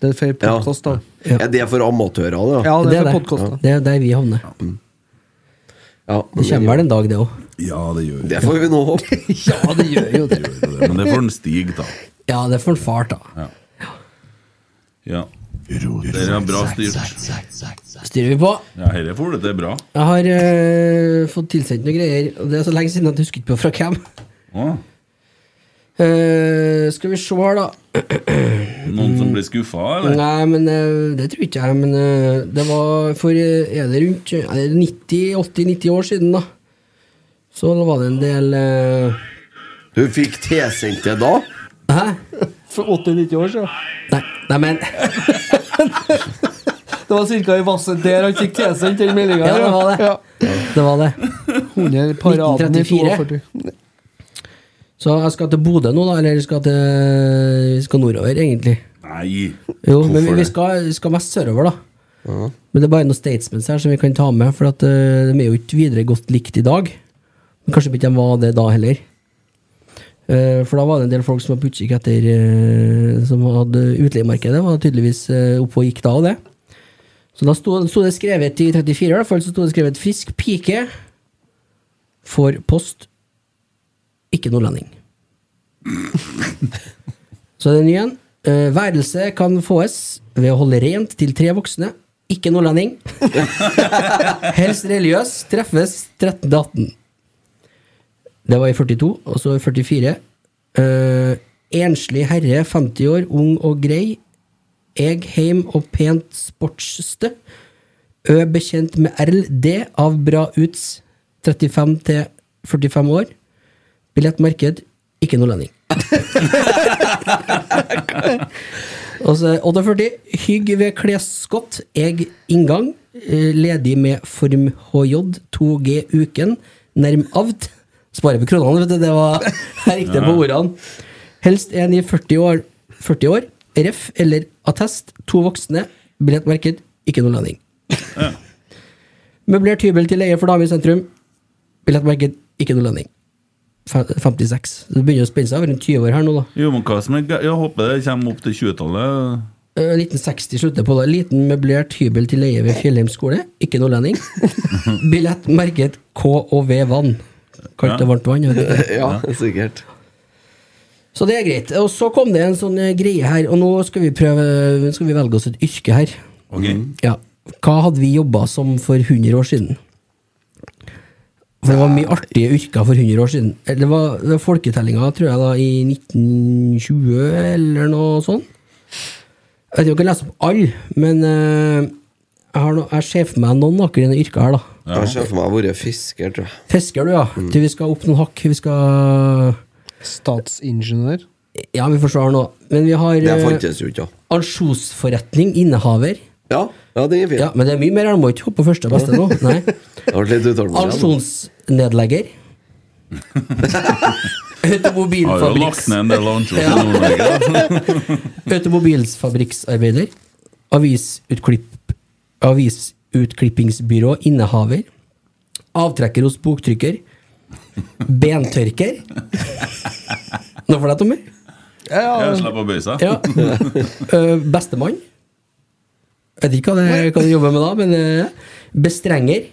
Det er for Ja. podkast, da. Ja. Er det for amatører, det? da? Ja, det er for det. podkast. det er der vi havner. Ja, Det kommer vel en dag, det òg. Ja, det gjør Det får vi nå håpe. Ja, det gjør jo det. det. Men det får en stig, da. Ja, det er for en fart, da. Ja. Dere har bra styrt. Styrer vi på. Ja, dette får det til bra. Jeg har eh, fått tilsendt noen greier, og det er så lenge siden at jeg husker ikke på fra hvem. Å, Eh, skal vi se her, da. noen som blir skuffa, eller? Nei, men eh, det tror ikke jeg. Men eh, det var for eh, Er det rundt eh, er det 90, 80-90 år siden, da? Så da var det en del eh, Du fikk tilsendt det da? Hæ? For 80-90 år siden. Nei, nei men Det var ca. i vasset der han fikk tilsendt den meldinga. Ja, det var det. Det var det. 100 paraden i 1934. 42. Så jeg skal til Bodø nå, da. Eller jeg skal til, vi skal nordover, egentlig. Nei. Jo, men Hvorfor vi, vi det? skal, vi skal mest sørover, da. Men det er bare noen statements her som vi kan ta med, for at, eh, de er jo ikke videre godt likt i dag. Men kanskje ikke de var det da heller. Eh, for da var det en del folk som var på utkikk etter eh, Som hadde utleiemarkedet, var tydeligvis eh, oppe og gikk da og det. Så da sto, sto det skrevet i 34, i hvert fall, så sto det skrevet 'Frisk pike for post, ikke nordlending'. Så er det en ny en. Eh, værelse kan fås ved å holde rent til tre voksne. Ikke nordlending. Helst religiøs. Treffes 13.18. Det var i 42, og så i 44. Eh, enslig herre, 50 år, ung og grei. Eg heim og pent sportsstø. Ø bekjent med RLD av bra uts, 35 til 45 år. Billettmarked, ikke nordlending. Og så er det 48. Hygg ved klesskott. Eg inngang. eh, Ledig med form HJ 2G uken. Nærm avt. Sparer på kronene, vet du. Det var her gikk det på ordene. Helst en i 40 år. 40 år. Ref eller attest. To voksne. Billettmerket. Ikke noe landing. Møblert hybel til leie for dame i sentrum. Billettmerket. Ikke noe landing. Fe- 56. Det begynner å spenne seg over en 20 år her nå, da. Jo, men hva som er gøy? Jeg håper det kommer opp til 20-tallet. Eh, 1960 slutter på det. Liten møblert hybel til leie ved Fjellheim skole. Ikke nordlending. Billett merket K og V vann. Kaldt og varmt vann. vet du. Ja, sikkert. Så det er greit. Og så kom det en sånn eh, greie her, og nå skal vi prøve nå skal vi velge oss et yrke her. Ok. Ja. Hva hadde vi jobba som for 100 år siden? For det var mye artige yrker for 100 år siden. Eh, Det var, det var folketellinga, tror jeg, da, i 1920 eller noe sånt. Jeg vet ikke om jeg kan lese opp alle, men eh, jeg, har no, jeg ser for meg noen akkurat yrker her, da. Jeg ser for meg å være fisker, tror jeg. Fisker, du, ja. Til vi skal opp noen hakk. Vi skal Statsingeniør. Ja, vi forsvarer nå. Men vi har Det eh, fantes jo ikke, da. Ansjosforretning, innehaver. Ja, ja den er fin. Ja, Men det er mye mer, jeg må ikke hoppe på første beste nå. Nei. Jeg ble litt utålmodig. Ansjonsnedlegger. Har jo lagt Automobilfabrikks ned en del ansjos i Ja. Nord-Norge. Automobilfabrikksarbeider. Avisutklipp, avisutklippingbyrå. Innehaver. Avtrekker hos boktrykker. Bentørker. Nå får jeg Tommy. Jeg slipper å bøye seg. Ja. Eh, bestemann. Jeg vet ikke hva det hva du jobber med da, men eh, bestrenger.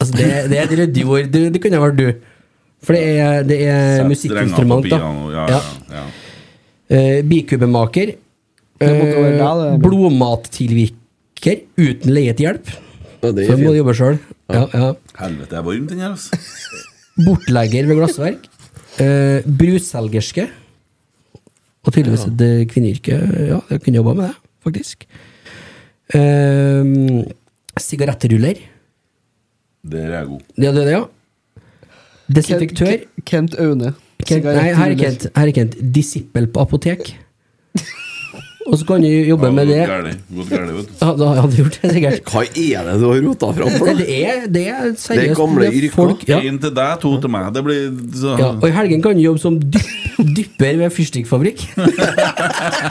Altså, det, det er et ryddig ord. Det, det kunne vært du. For det er, det er Sett strenger på Eh, musikkinstrument, da. piano, Ja, Ja. ja, ja. Eh, bikubemaker. Det måtte være deg, Eh, det. blodmattilvirker Eh, uten leie til hjelp. Ja, den Så er må du fin. jobbe sjøl. Ja, ja. Helvete, det er varmt den her, altså. Bortlegger ved glassverk. Eh, brusselgerske. Og tydeligvis et kvinneyrke. Ja, jeg kunne jobba med det, faktisk. Eh, sigarettruller. Der er jeg god. Det er det, ja. Desinfektør. Kent- Kent Aune. Kent, nei, her er Kent. Her er Kent. Disippel på apotek. Og så kan du jobbe med det. Ja, Godt gærlig, vet du. Ja, da hadde du gjort det, sikkert. Hva er det du har rota fram for Nei, noe? det er, det er seriøst. Det er gamle det er yrker. folk- Ja, En til deg, to til meg. Det blir så ja. Og i helgen kan du jobbe som dypp, dypper ved fyrstikkfabrikk.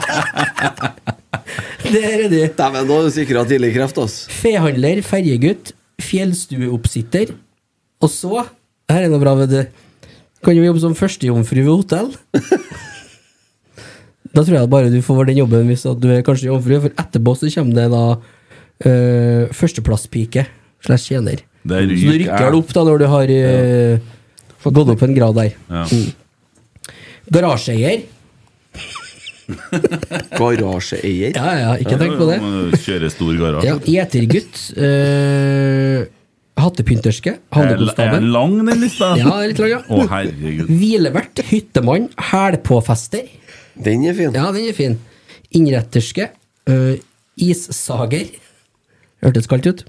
det er det. Dæven, da har du sikra tidlig kreft, ass. Fehandler, ferjegutt, fjellstueoppsitter. Og så Her er noe bra, vet du. Kan jo jobbe som førstejomfru ved hotell. da tror jeg bare du får den jobben hvis at du er kanskje jomfru, for etterpå så kommer det da eh, førsteplasspike slash tjener. Det Så du ryker. rykker vel opp da når du har eh, gått opp en grad der. Ja. Garasjeeier. Garasjeeier. Ja, ja, ikke tenk på det. Kjøre stor Ja, garasje. Gjetergutt. eh, hattepynterske. Er er Havnekonstabel. lang, den lista? Ja, litt lang, ja. Å, herregud. Hvilevert, hyttemann, hælpåfester. Den er fin. Ja, den er fin. Innretterske. øh, issager. Hørtes kaldt ut.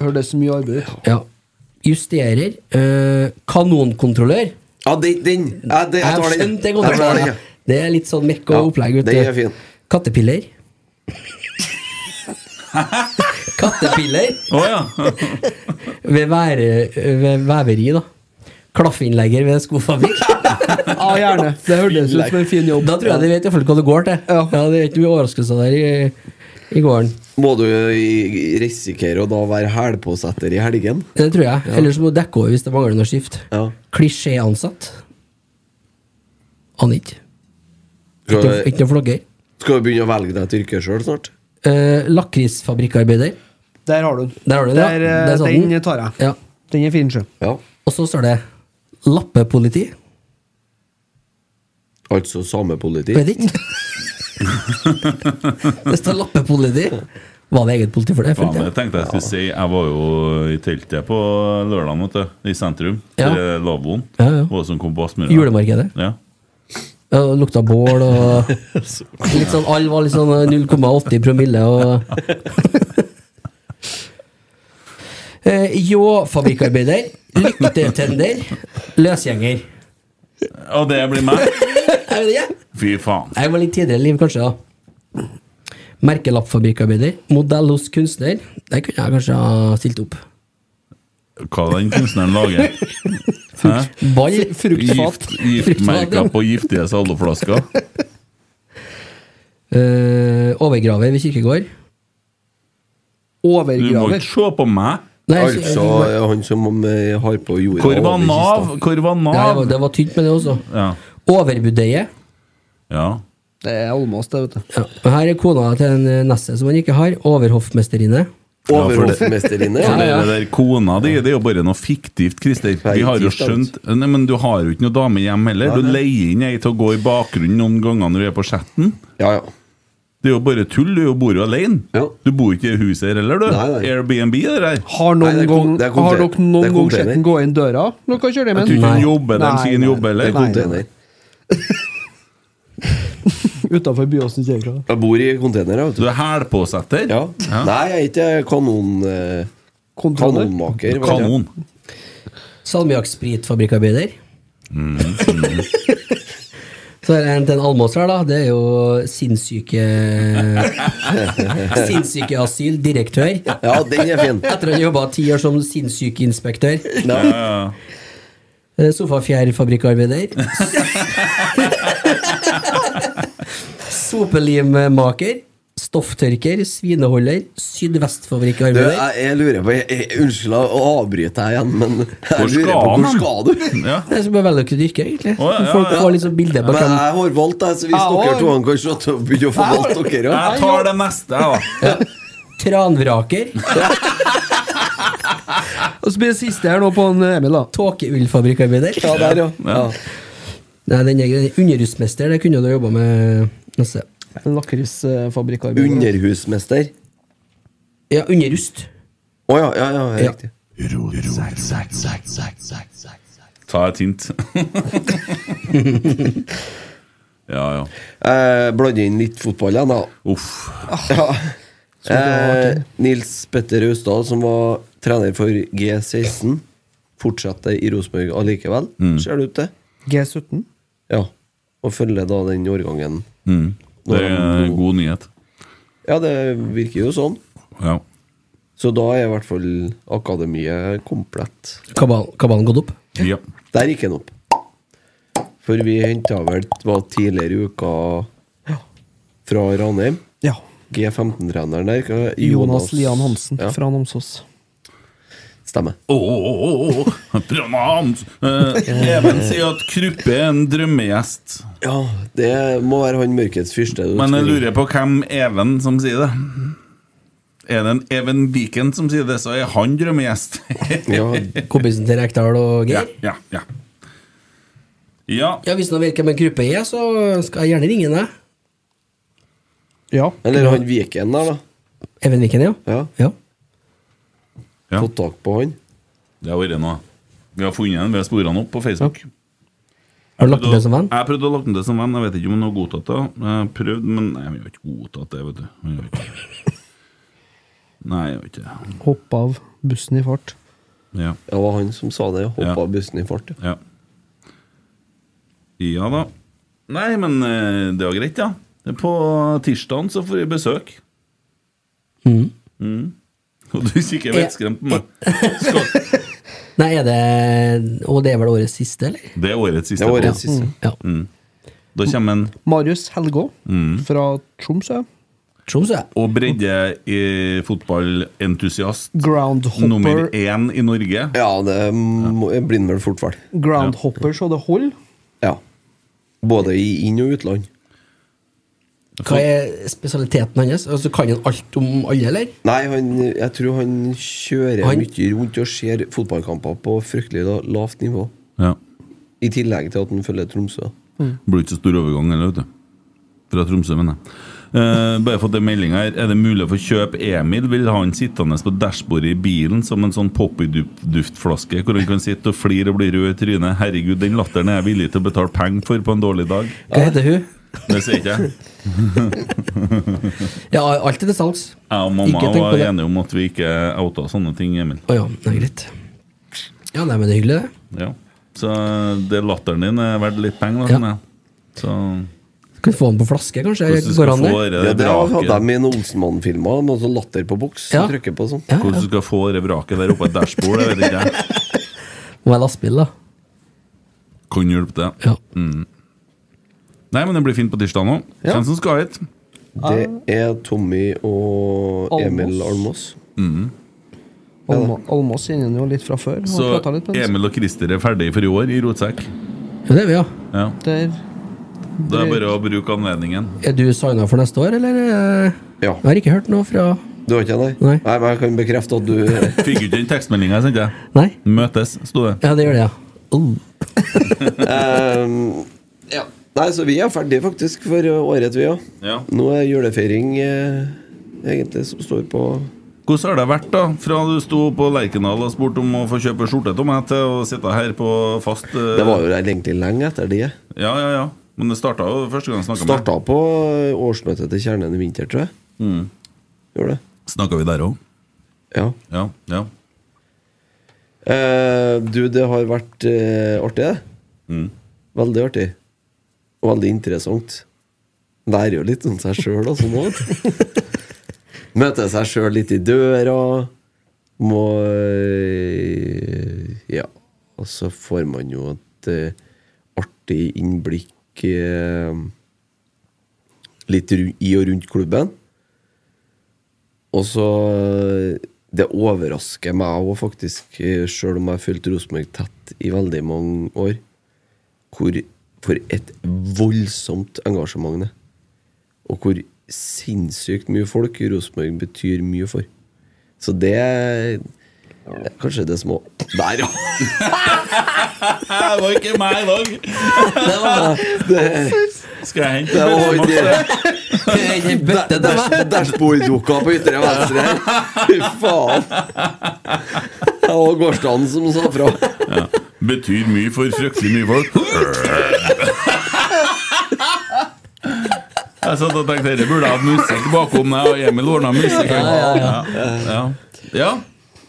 Hørtes mye arbeid ut. Ja. Justerer. øh, kanonkontrollør. Ja, den, den. Ja, det, jeg Jeg tar den. skjønte det Jeg tar kontrolløren. ja. den, ja. Det er litt sånn mekk og Ja, opplegg. vet den du. er fin. Kattepiller. Kattepiller Å ja. ved, være, ved veveri, da. Klaffeinnlegger ved skofabrikk. Ja, gjerne. Det hørtes ut som en fin jobb. Da tror jeg de vet iallfall hva det går til. Ja. Ja. Det er ikke mye overraskelser der i, i gården. Må du i- risikere å da være hælpåsetter i helgen? Det tror jeg. Ellers må du dekke over hvis det mangler noe skift. Ja. Klisjéansatt. Aner ikke. Ikke noe- Skal, Ikke noe flogger. skal du begynne å velge deg et yrke sjøl snart? Eh, Lakrisfabrikkarbeider. Der har du den. Der har du det, ja. Der, eh, Der satt den. den tar jeg. Ja. Den er fin, sjø. Ja. Og så står det lappepoliti. Altså samepoliti? Vet ikke. det står lappepoliti. Var det eget politi for det? Faen, følte det jeg? tenkte jeg skulle si. Jeg var jo i teltet på lørdagen, vet du. I sentrum. Ja. Til lavvoen. Ja, ja. Hva som kom på Aspmyra. Julemarkedet. Ja. Ja, det lukta bål og litt sånn, Alle var litt sånn eh, 0,80 promille og Eh, Ljå fabrikkarbeider, lyktetender, løsgjenger. Og det blir meg. Er det det? Fy faen. Jeg var litt tidligere i liv, kanskje. da Merkelappfabrikkarbeider, modell hos kunstner. Der kunne jeg kanskje ha stilt opp. Hva den kunstneren lager? Hæ? Ball. Gift, giftmerker på giftige saloflasker. Eh, overgraver ved kirkegård. Du må Overgraver. ikke se på meg! Nei, Altså ja, han som eh, har på jorda Hvor var over Nav? kista. Hvor var ja, det var- Nav? det var tynt med det også. Ja. Overbudeie. ja. Det er Almås, det, vet du. Ja. og Her er kona til en eh, neste som han ikke har. Overhoffmesterinne. Overhoffmesterinne? For ja. det, ja. det der kona di det er jo bare noe fiktivt, Christer. Vi har jo Fiktivt, skjønt Nei, Men du har jo ikke noe dame hjem heller. Du leier inn ei til å gå i bakgrunnen noen ganger når du er på chatten. ja, ja. Det er jo bare tull. Du bor jo alene. Ja. Du bor ikke i det huset her heller, du. Nei, nei. Airbnb er det der. Har, Nei, det noen er kon- gang, det er har container. dere noen Det er gang sett container. den gå inn døra? Dere har kjørt hjem Jeg tror ikke Nei. hun jobber der, Nei, sier hun nei. jobber Det er heller. container. utafor Byåsen kirke. Jeg bor i container, ja, vet Du du. er hælpåsetter? Ja. Nei, jeg er ikke kanon... eh, Kontroller. Kanonmaker. vet jeg. Kanon. Salmiakkspritfabrikkarbeider. Mm. Så er det en til en almås her, da. Det er jo sinnssyke Sinnssykeasyldirektør. Ja, den er fin. Etter at han jobba ti år som sinnssykeinspektør. Ja. Eh, Sofafjærfabrikkarbeider. Sopelimmaker. Stofftørker. Svineholder. Du, Sydvestfabrikkarbeider. jeg, jeg lurer på jeg, jeg, Unnskyld å avbryte deg igjen, men jeg Hvor lurer skal på han, hvor skal du? Ja. Det er så bare vellykket yrke, egentlig. Å, ja, ja, Folk ja. får liksom bilde på Men hvem jeg har valgt deg, så hvis Jeg dere har- to kan slutte å begynne å få Jeg har- valgt dere ja. Jeg tar det neste, da. Tranvraker. Og så blir det siste her nå på en eh, Emil, da. Tåkeullfabrikkarbeider. Ja, der, ja. ja. Nei, den er grei. Underhusmester, det kunne du ha jobba med neste. Lakrisfabrikkarbeider. Underhusmester. Ja, underrust. Å ja, ja, ja, Ja. riktig. Ta et hint. Ja, ja. Jeg blander Eh, inn litt fotball igjen, da. Uff. Ja. Eh, Nils Petter Austad, som var trener for G16, fortsetter i Rosenborg allikevel, ser det ut til. G17. Ja. Og følger da den årgangen. Mm. Det er god nyhet. Ja, det virker jo sånn. Ja. Så da er i hvert fall akademiet komplett. Kabal, kabalen gått opp? ja. Der gikk den opp. For vi henta vel det var tidligere i uka fra Ranheim. Ja. G15-treneren der. hva- Jonas Lian Hansen Ja, fra Namsos. stemmer. Ååå Hans Eh, Even sier at Kruppe er en drømmegjest. Ja, det må være han mørkets fyrste. du Men jeg spør. lurer på hvem Even som sier det. Er det en Even Viken som sier det, så er han drømmegjest. Ja, Kompisen til Rekdal og ja, Geir? ja, ja. ja. Ja, Hvis noen vet hvem en gruppe er, så skal jeg gjerne ringe deg. Ja. eller han Viken der, da. Even Viken, ja. Ja. Ja. Fått tak på han. Det har vært noe. Vi har funnet den, vi har sporet den opp på Facebook. Har du lagt den til som venn? Jeg prøvde å lage den til som venn. Jeg vet ikke om den har godtatt det. Jeg har prøvd, men nei, vi har ikke godtatt det, vet du. Vi har ikke. Nei, jeg har ikke det. Hoppe av bussen i fart. Ja. Det var han som sa det. Hoppa Ja. av bussen i fart. ja. ja. Ja da. Nei, men eh, det var greit, ja. På tirsdagen så får vi besøk. Mhm. Mhm. Og du kikker vettskremt på meg. Skal. Nei, er det Og det er vel årets siste, eller? Det er årets Det siste. var podd. årets Mm. siste. Ja. Da kommer en Marius Helgå Mm. fra Tromsø. Tromsø. og bredde i fotballentusiast nummer Groundhopper, én i Norge. Ja, det må- blir han vel fort vel. groundhopper så det holder. Ja. Både i inn- og utland. Hva er spesialiteten hans? Altså, Kan han alt om alle, eller? Nei, han, jeg tror han kjører Han- mye rundt og ser fotballkamper på fryktelig la- lavt nivå. Ja. I tillegg til at han følger Tromsø. Blir ikke så stor overgang heller, vet du. Fra Tromsø, mener jeg. Eh, bare fått en melding her. Er det mulig å få kjøpe Emil? Vil ha han sittende på dashbordet i bilen som en sånn poppy-duftflaske, hvor han kan sitte og flire og bli rød i trynet? Herregud, den latteren er jeg villig til å betale penger for på en dårlig dag. Hva heter hun? Det sier ikke jeg. Ja, alt er til salgs. Jeg og Ikke mamma tenk på var det. enige om at vi ikke outa sånne ting, Emil. Å ja, det er greit. Ja, nei, men det er hyggelig, det. Ja. Så det latteren din er verdt litt penger, da. Ja. skjønner jeg. Så Kan få den på flaske, kanskje? hvordan du Går skal an få det? det Ja, det hadde vraket de i en Olsenmann-filmer. Noen sånn latter på boks. Ja. Ja. Trykker på sånn. Ja, Hvordan du skal få det vraket der oppe i dashbordet, vet ikke jeg. Må være lastebil, da. Kan hjelpe det. Ja. Nei, men det blir fint på tirsdag nå. Ja. Hvem som skal hit? Det er Tommy og Almås. Emil Almås. Alma- Almås kjenner han jo litt fra før. Så Så litt med han. Emil og Christer er ferdig for i år i Rotsekk. ja, det er vi, ja. Ja. Der. Det er bare å bruke anledningen. Er du signa for neste år, eller? eh? Ja. Jeg har ikke hørt noe fra Du har ikke det? Nei. Nei, men jeg kan bekrefte at du Fikk ikke den tekstmeldinga jeg sendte. Nei? Møtes, sto det. Ja, det gjør det, ja. Oh. Ehm, ja. Nei, så vi er ferdige faktisk for eh, året, vi òg. Ja. Nå er julefeiring eh, egentlig som står på Hvordan har det vært, da? Fra du sto på Lerkendal og spurte om å få kjøpe skjorte til meg, til å sitte her på fast eh, Det var jo egentlig lenge etter det. Ja, ja, ja. Men det starta jo første gang jeg snakka med Starta på eh, årsmøtet til Kjernen i vinter, tror jeg. Mm. Gjorde det. Snakka vi der òg? Ja. Ja. ja. Eh, du, det har vært eh, artig, det. Veldig artig. Og veldig interessant. Lærer jo litt om seg sjøl og sånn òg. Møter seg sjøl litt i døra. Må eh, Ja. Og så får man jo et eh, artig innblikk eh, litt ru- i og rundt klubben. Og så eh, Det overrasker meg òg, faktisk, eh, sjøl om jeg har fulgt Rosenborg tett i veldig mange år, hvor for et voldsomt engasjement det er. Og hvor sinnssykt mye folk Rosenborg betyr mye for. Så det er Kanskje det som òg Der, ja! Det var ikke meg i dag! Skal jeg hente Det var Max, ikke- eh? Bøtte til meg! Dashborddukka på ytre venstre her. Fy faen. Det var gårsdagen som sa fra. Betyr mye for fryktelig mye folk. Jeg satt og tenkte dette burde jeg hatt musikk bakom meg, og Emil ordna musikk. Ja, ja, ja. ja.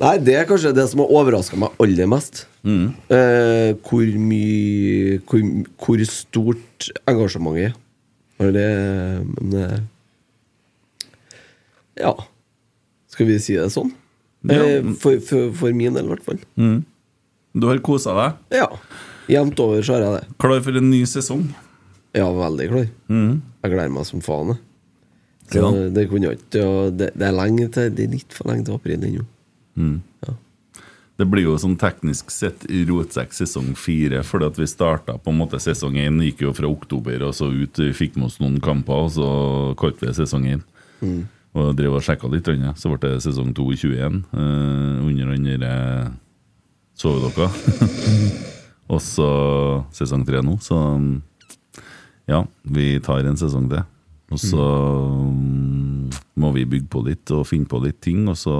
Nei, Det er kanskje det som har overraska meg aller mest. Eh, hvor mye hvor, hvor stort engasjementet er. Og det Men eh, Ja. Skal vi si det sånn? Eh, for, for, for min del, i hvert fall. Du har kosa deg. Ja. Jevnt over så har jeg det. Klar for en ny sesong. Ja, veldig klar. Jeg gleder meg som faen. jeg. Så Ja. det kunne jeg ikke og det, det er lenge til Det er litt for lenge til april ennå. Det blir jo sånn teknisk sett i rotsekk sesong fire, fordi at vi starta på en måte sesong én, gikk jo fra oktober og så ut, fikk med oss noen kamper, og så kalte vi det sesong én. Og drev og sjekka litt, grann, ja. så ble det sesong to i 21, eh, under den derre sovedokka. og så sesong tre nå, så mm, ja, vi tar en sesong til. Og så mm, må vi bygge på litt og finne på litt ting, og så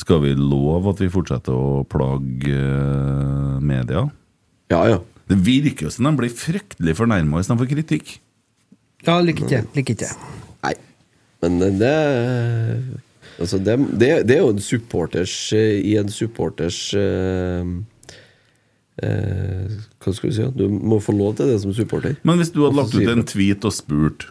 skal vi love at vi fortsetter å plage eh, media? Ja, ja. Det virker jo som de blir fryktelig fornærma hvis de får kritikk. Ja, liker ikke. Liker ikke. Nei. Men eh, det, det Altså, det, det, det er jo en supporters eh, I en supporters eh, eh, Hva skal du si? Du må få lov til det som supporter. Men hvis du hadde Og lagt så ut sier en du- tweet og spurt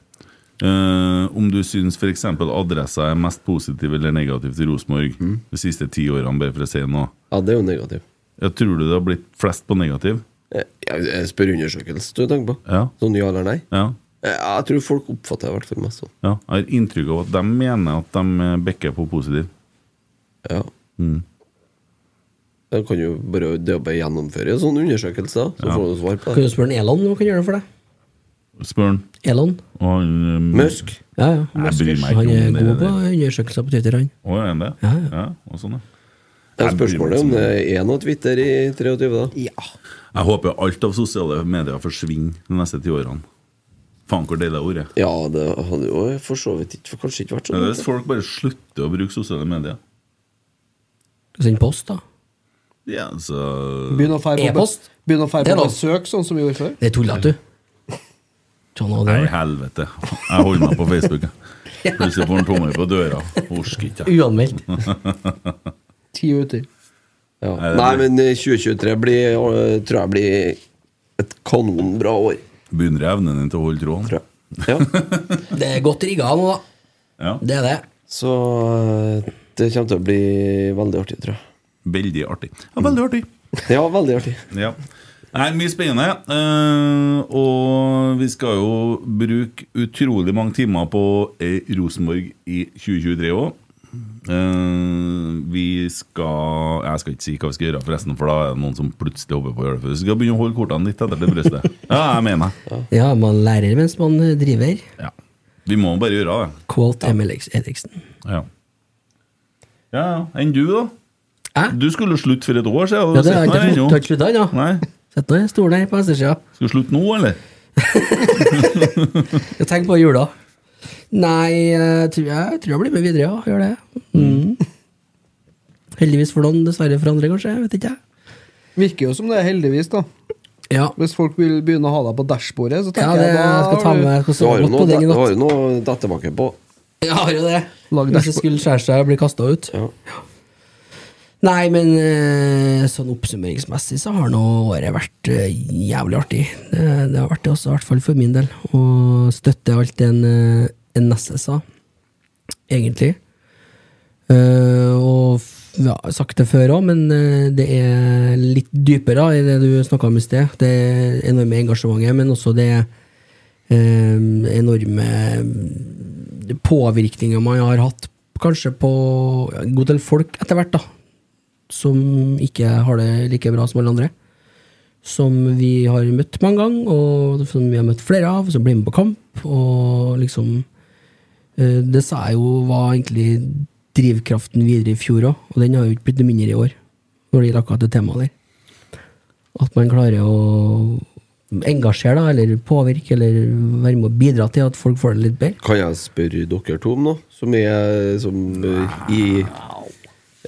eh, om du syns f.eks. adressa er mest positiv eller negativ til Rosenborg Mm. de siste ti årene, bare for å si noe, Ja, det er jo negativt. jeg tror du det har blitt flest på negativ? Jeg, jeg spør undersøkelse, du tenker på. Ja. Sånn ja eller nei? Ja. Eh, Jeg tror folk oppfatter det i hvert fall mest sånn. ja. Jeg har inntrykk av at de mener at de eh, backer på positiv. Ja. Mm. Jeg kan jo bare, det er jo bare å gjennomføre en sånn undersøkelse, da. Så får du svar på Kan det. du spørre en Elon hva kan gjøre det for deg? Spør han. Elon? Og han eh, Musk. Ja, ja. Jeg bryr meg ikke Han om er det god der. på undersøkelser på Twitter, han. Å, er han det? Ja, ja. og sånn, ja. Det Jeg er bryr meg spørsmålet ikke om så det mye. er noe Twitter i 23, da. Ja. Jeg håper alt av sosiale medier forsvinner de neste ti årene. Faen, hvor deilig det ordet er. Ja, det hadde jo for så vidt ikke for kanskje ikke vært Det er hvis sånn. folk bare slutter å bruke sosiale medier. Send post, da. Ja, så Begynn å feire på, E-post? begynn å feire Det er på lov. besøk, sånn som vi gjorde før. Det er tullete, du. Sånn var det. Nei, helvete. Jeg holder meg på Facebook. jeg. Plutselig får han tommel på døra. Orker ikke. jeg. Uanmeldt. Ti uker. Ja. Nei, det Nei, blir- men eh, 2023 blir, eh, tror jeg blir et kanonbra år. Begynner evnen din til å holde tråden? Tror jeg. Ja. Det er godt rigga nå, da. Ja. Det er det. Så eh, det kommer til å bli veldig artig, tror jeg. Veldig artig. Ja, veldig artig. Ja, veldig artig. Ja. Nei, mye spennende. Eh, og vi skal jo bruke utrolig mange timer på eh, Rosenborg i 2023 òg. vi skal Jeg skal ikke si hva vi skal gjøre, forresten, for da er det noen som plutselig hopper på å gjøre det. For vi skal begynne å holde kortene litt etter det brystet. Ja, jeg mener det. Ja, man lærer mens man eh, driver. Ja. Vi må bare gjøre det. Quote ML Eriksen. Ja. ja, ja. Enn du, da? Hæ? Du skulle slutte for et år siden. og Ja, du det har sitter her jeg ennå. ikke tatt slutta ennå. Nei. Sitter nå i stolen her på venstresida. Skal du slutte nå, eller? Jeg tenker på jula. Nei, jeg tror jeg, jeg tror jeg blir med videre, ja. Gjør det. Mm. Heldigvis for noen, dessverre for andre, kanskje. Vet ikke jeg. Virker jo som det, heldigvis, da. Ja, Hvis folk vil begynne å ha deg på dashbordet, så ja tenker det, jeg da jeg skal ta har du- med jeg skal Du sove har jo godt på noe den i du har natt. jo noe datterbakke på. Jeg har jo det. Lag Hvis det dashboard. skulle skjære seg og bli kasta ut. Ja. Nei, men eh, sånn oppsummeringsmessig så har nå året vært eh, jævlig artig. Det, det har vært det også, i hvert fall for min del. Og støtter alt det en, eh, en Nesse sa, egentlig. Eh, og f- ja, jeg har sagt det før òg, men eh, det er litt dypere i det du snakka om i sted. Det enorme engasjementet, men også det eh, enorme påvirkninger man har hatt kanskje på en god del folk etter hvert, da. Som ikke har det like bra som alle andre. Som vi har møtt mange ganger, og som vi har møtt flere av, som blir med på kamp. Og liksom eh, Det sa jeg jo var egentlig drivkraften videre i fjor òg, og den har jo ikke blitt noe mindre i år. Når det gjelder akkurat det temaet der. At man klarer å engasjere, da, eller påvirke, eller være med å bidra til at folk får det litt bedre. Kan jeg spørre dere to om noe? Som er, som, eh, i,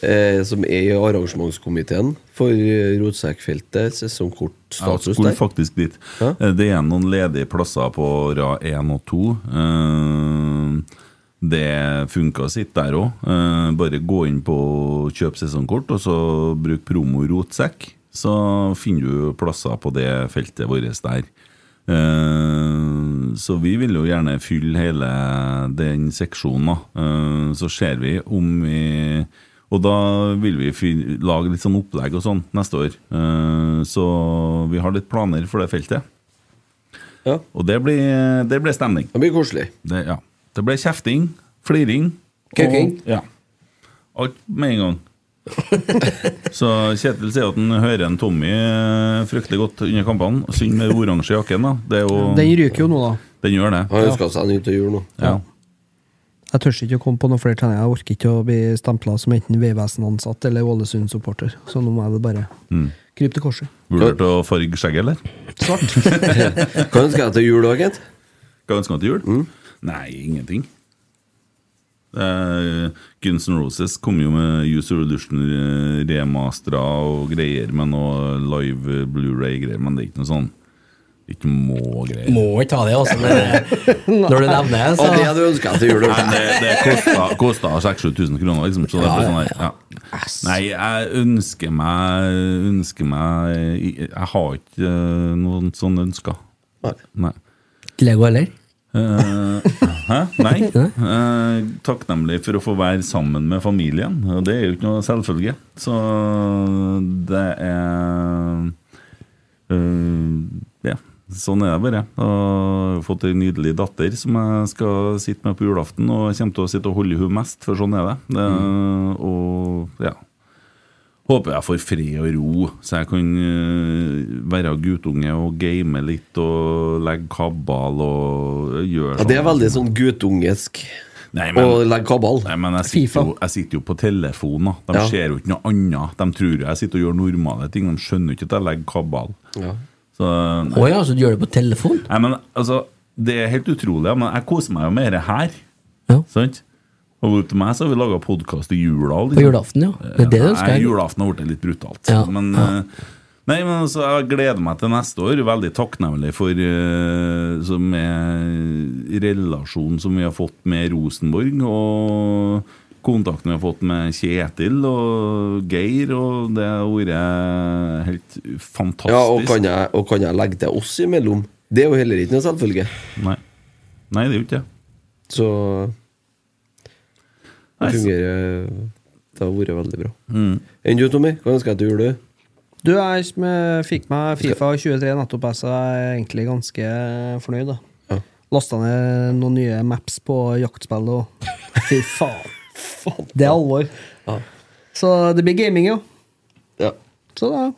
eh, som er i arrangementskomiteen for eh, Rotsekkfeltet, Jeg sesongkortstatus skulle der. faktisk dit. Ja. Eh, Det er noen ledige plasser på rad 1 og 2. Eh, Det funka sitt der òg. Bare gå inn på kjøp sesongkort, og så bruk promo rotsekk. Så finner du plasser på det feltet vårt der. Eh, Så vi vil jo gjerne fylle hele den seksjonen, da. Eh, Så ser vi om vi og da vil vi fy- lage litt sånn opplegg og sånn neste år. Eh, Så vi har litt planer for det feltet. Ja, Og det blir, det blir stemning. det blir koselig. Det, ja. det blir kjefting, fliring Kuking. og- Ja. Alt med en gang. Så Kjetil sier at han hører en Tommy eh, fryktelig godt under kampene. Synd med oransje jakken, da. Det er Den jo, den, ryker jo nå, da. gjør det. Han ønska seg nytt til jul nå. Ja. Jeg tør ikke å komme på noen flere treninger. Jeg orker ikke å bli stempla som enten Vegvesen-ansatt eller Ålesund-supporter. Så nå må jeg vel bare krype til korset. Vurderte å farge skjegget, eller? Svart. Hva ønsker jeg til jul, da, Kent? Hva ønsker han til jul? Nei, ingenting. Eh, Guns N' Roses kom jo med User Illusion remastera og greier med noe live eh, Blu-ray-greier, men det er ikke noe sånn Ikke må-greier. Må ikke ta det, altså. Men når du nevner det, Ja, det så du ønsker jeg til jul. Nei, det, det kosta- kosta 6000-7000 kroner, liksom. Så det er bare sånn der, ja. Nei, jeg ønsker meg Ønsker meg Jeg har ikke eh, noen sånne ønsker. Nei. Nei. Lego heller. Eh, hæ? Nei. Eh, takknemlig for å få være sammen med familien. Og det er jo ikke noe selvfølge. Så det er eh, Ja, sånn er det bare. Og jeg har fått ei nydelig datter som jeg skal sitte med på julaften, og jeg kommer til å sitte og holde henne mest, for sånn er det. det Mm. Og ja. Håper jeg får fred og ro, så jeg kan øh, være guttunge og game litt og legge kabal og gjøre Ja, det er veldig sånn guttungesk Nei, å men, legge kabal. nei, men jeg, FIFA. sitter jo, jeg sitter jo på telefonen. da. De Ja. ser jo ikke noe annet. De tror jo jeg sitter og gjør normale ting. De skjønner jo ikke at jeg legger kabal. Ja. Så, eh, Å ja, så du gjør det på telefon? nei, men altså Det er helt utrolig, ja, men jeg koser meg jo med det her. Ja. Sant? Og opp til meg så har vi laga podkast i jula. liksom. På julaften, ja. Det er det du ønsker? Nei, jeg. julaften har blitt litt brutalt. Ja, Men, ja. eh, Nei, men altså, Jeg gleder meg til neste år. Veldig takknemlig for eh, som er relasjonen som vi har fått med Rosenborg, og kontakten vi har fått med Kjetil og Geir. Og det har vært helt fantastisk. Ja, og kan, jeg, og kan jeg legge til oss imellom? Det er jo heller ikke noe selvfølge. Nei. Nei, det er jo ikke det. Så Nei, det så- Mm. fungerer Det har vært veldig bra. Enn du, Tommy? Hva ønsker jeg til jul? du? Du, jeg som, eh, fikk meg Fifa 23 nettopp, jeg, så jeg er egentlig ganske fornøyd. da Ja. Lasta ned noen nye maps på jaktspillet og Fy faen! Det er alvor. Ja. Så det blir gaming, jo. Ja. Så da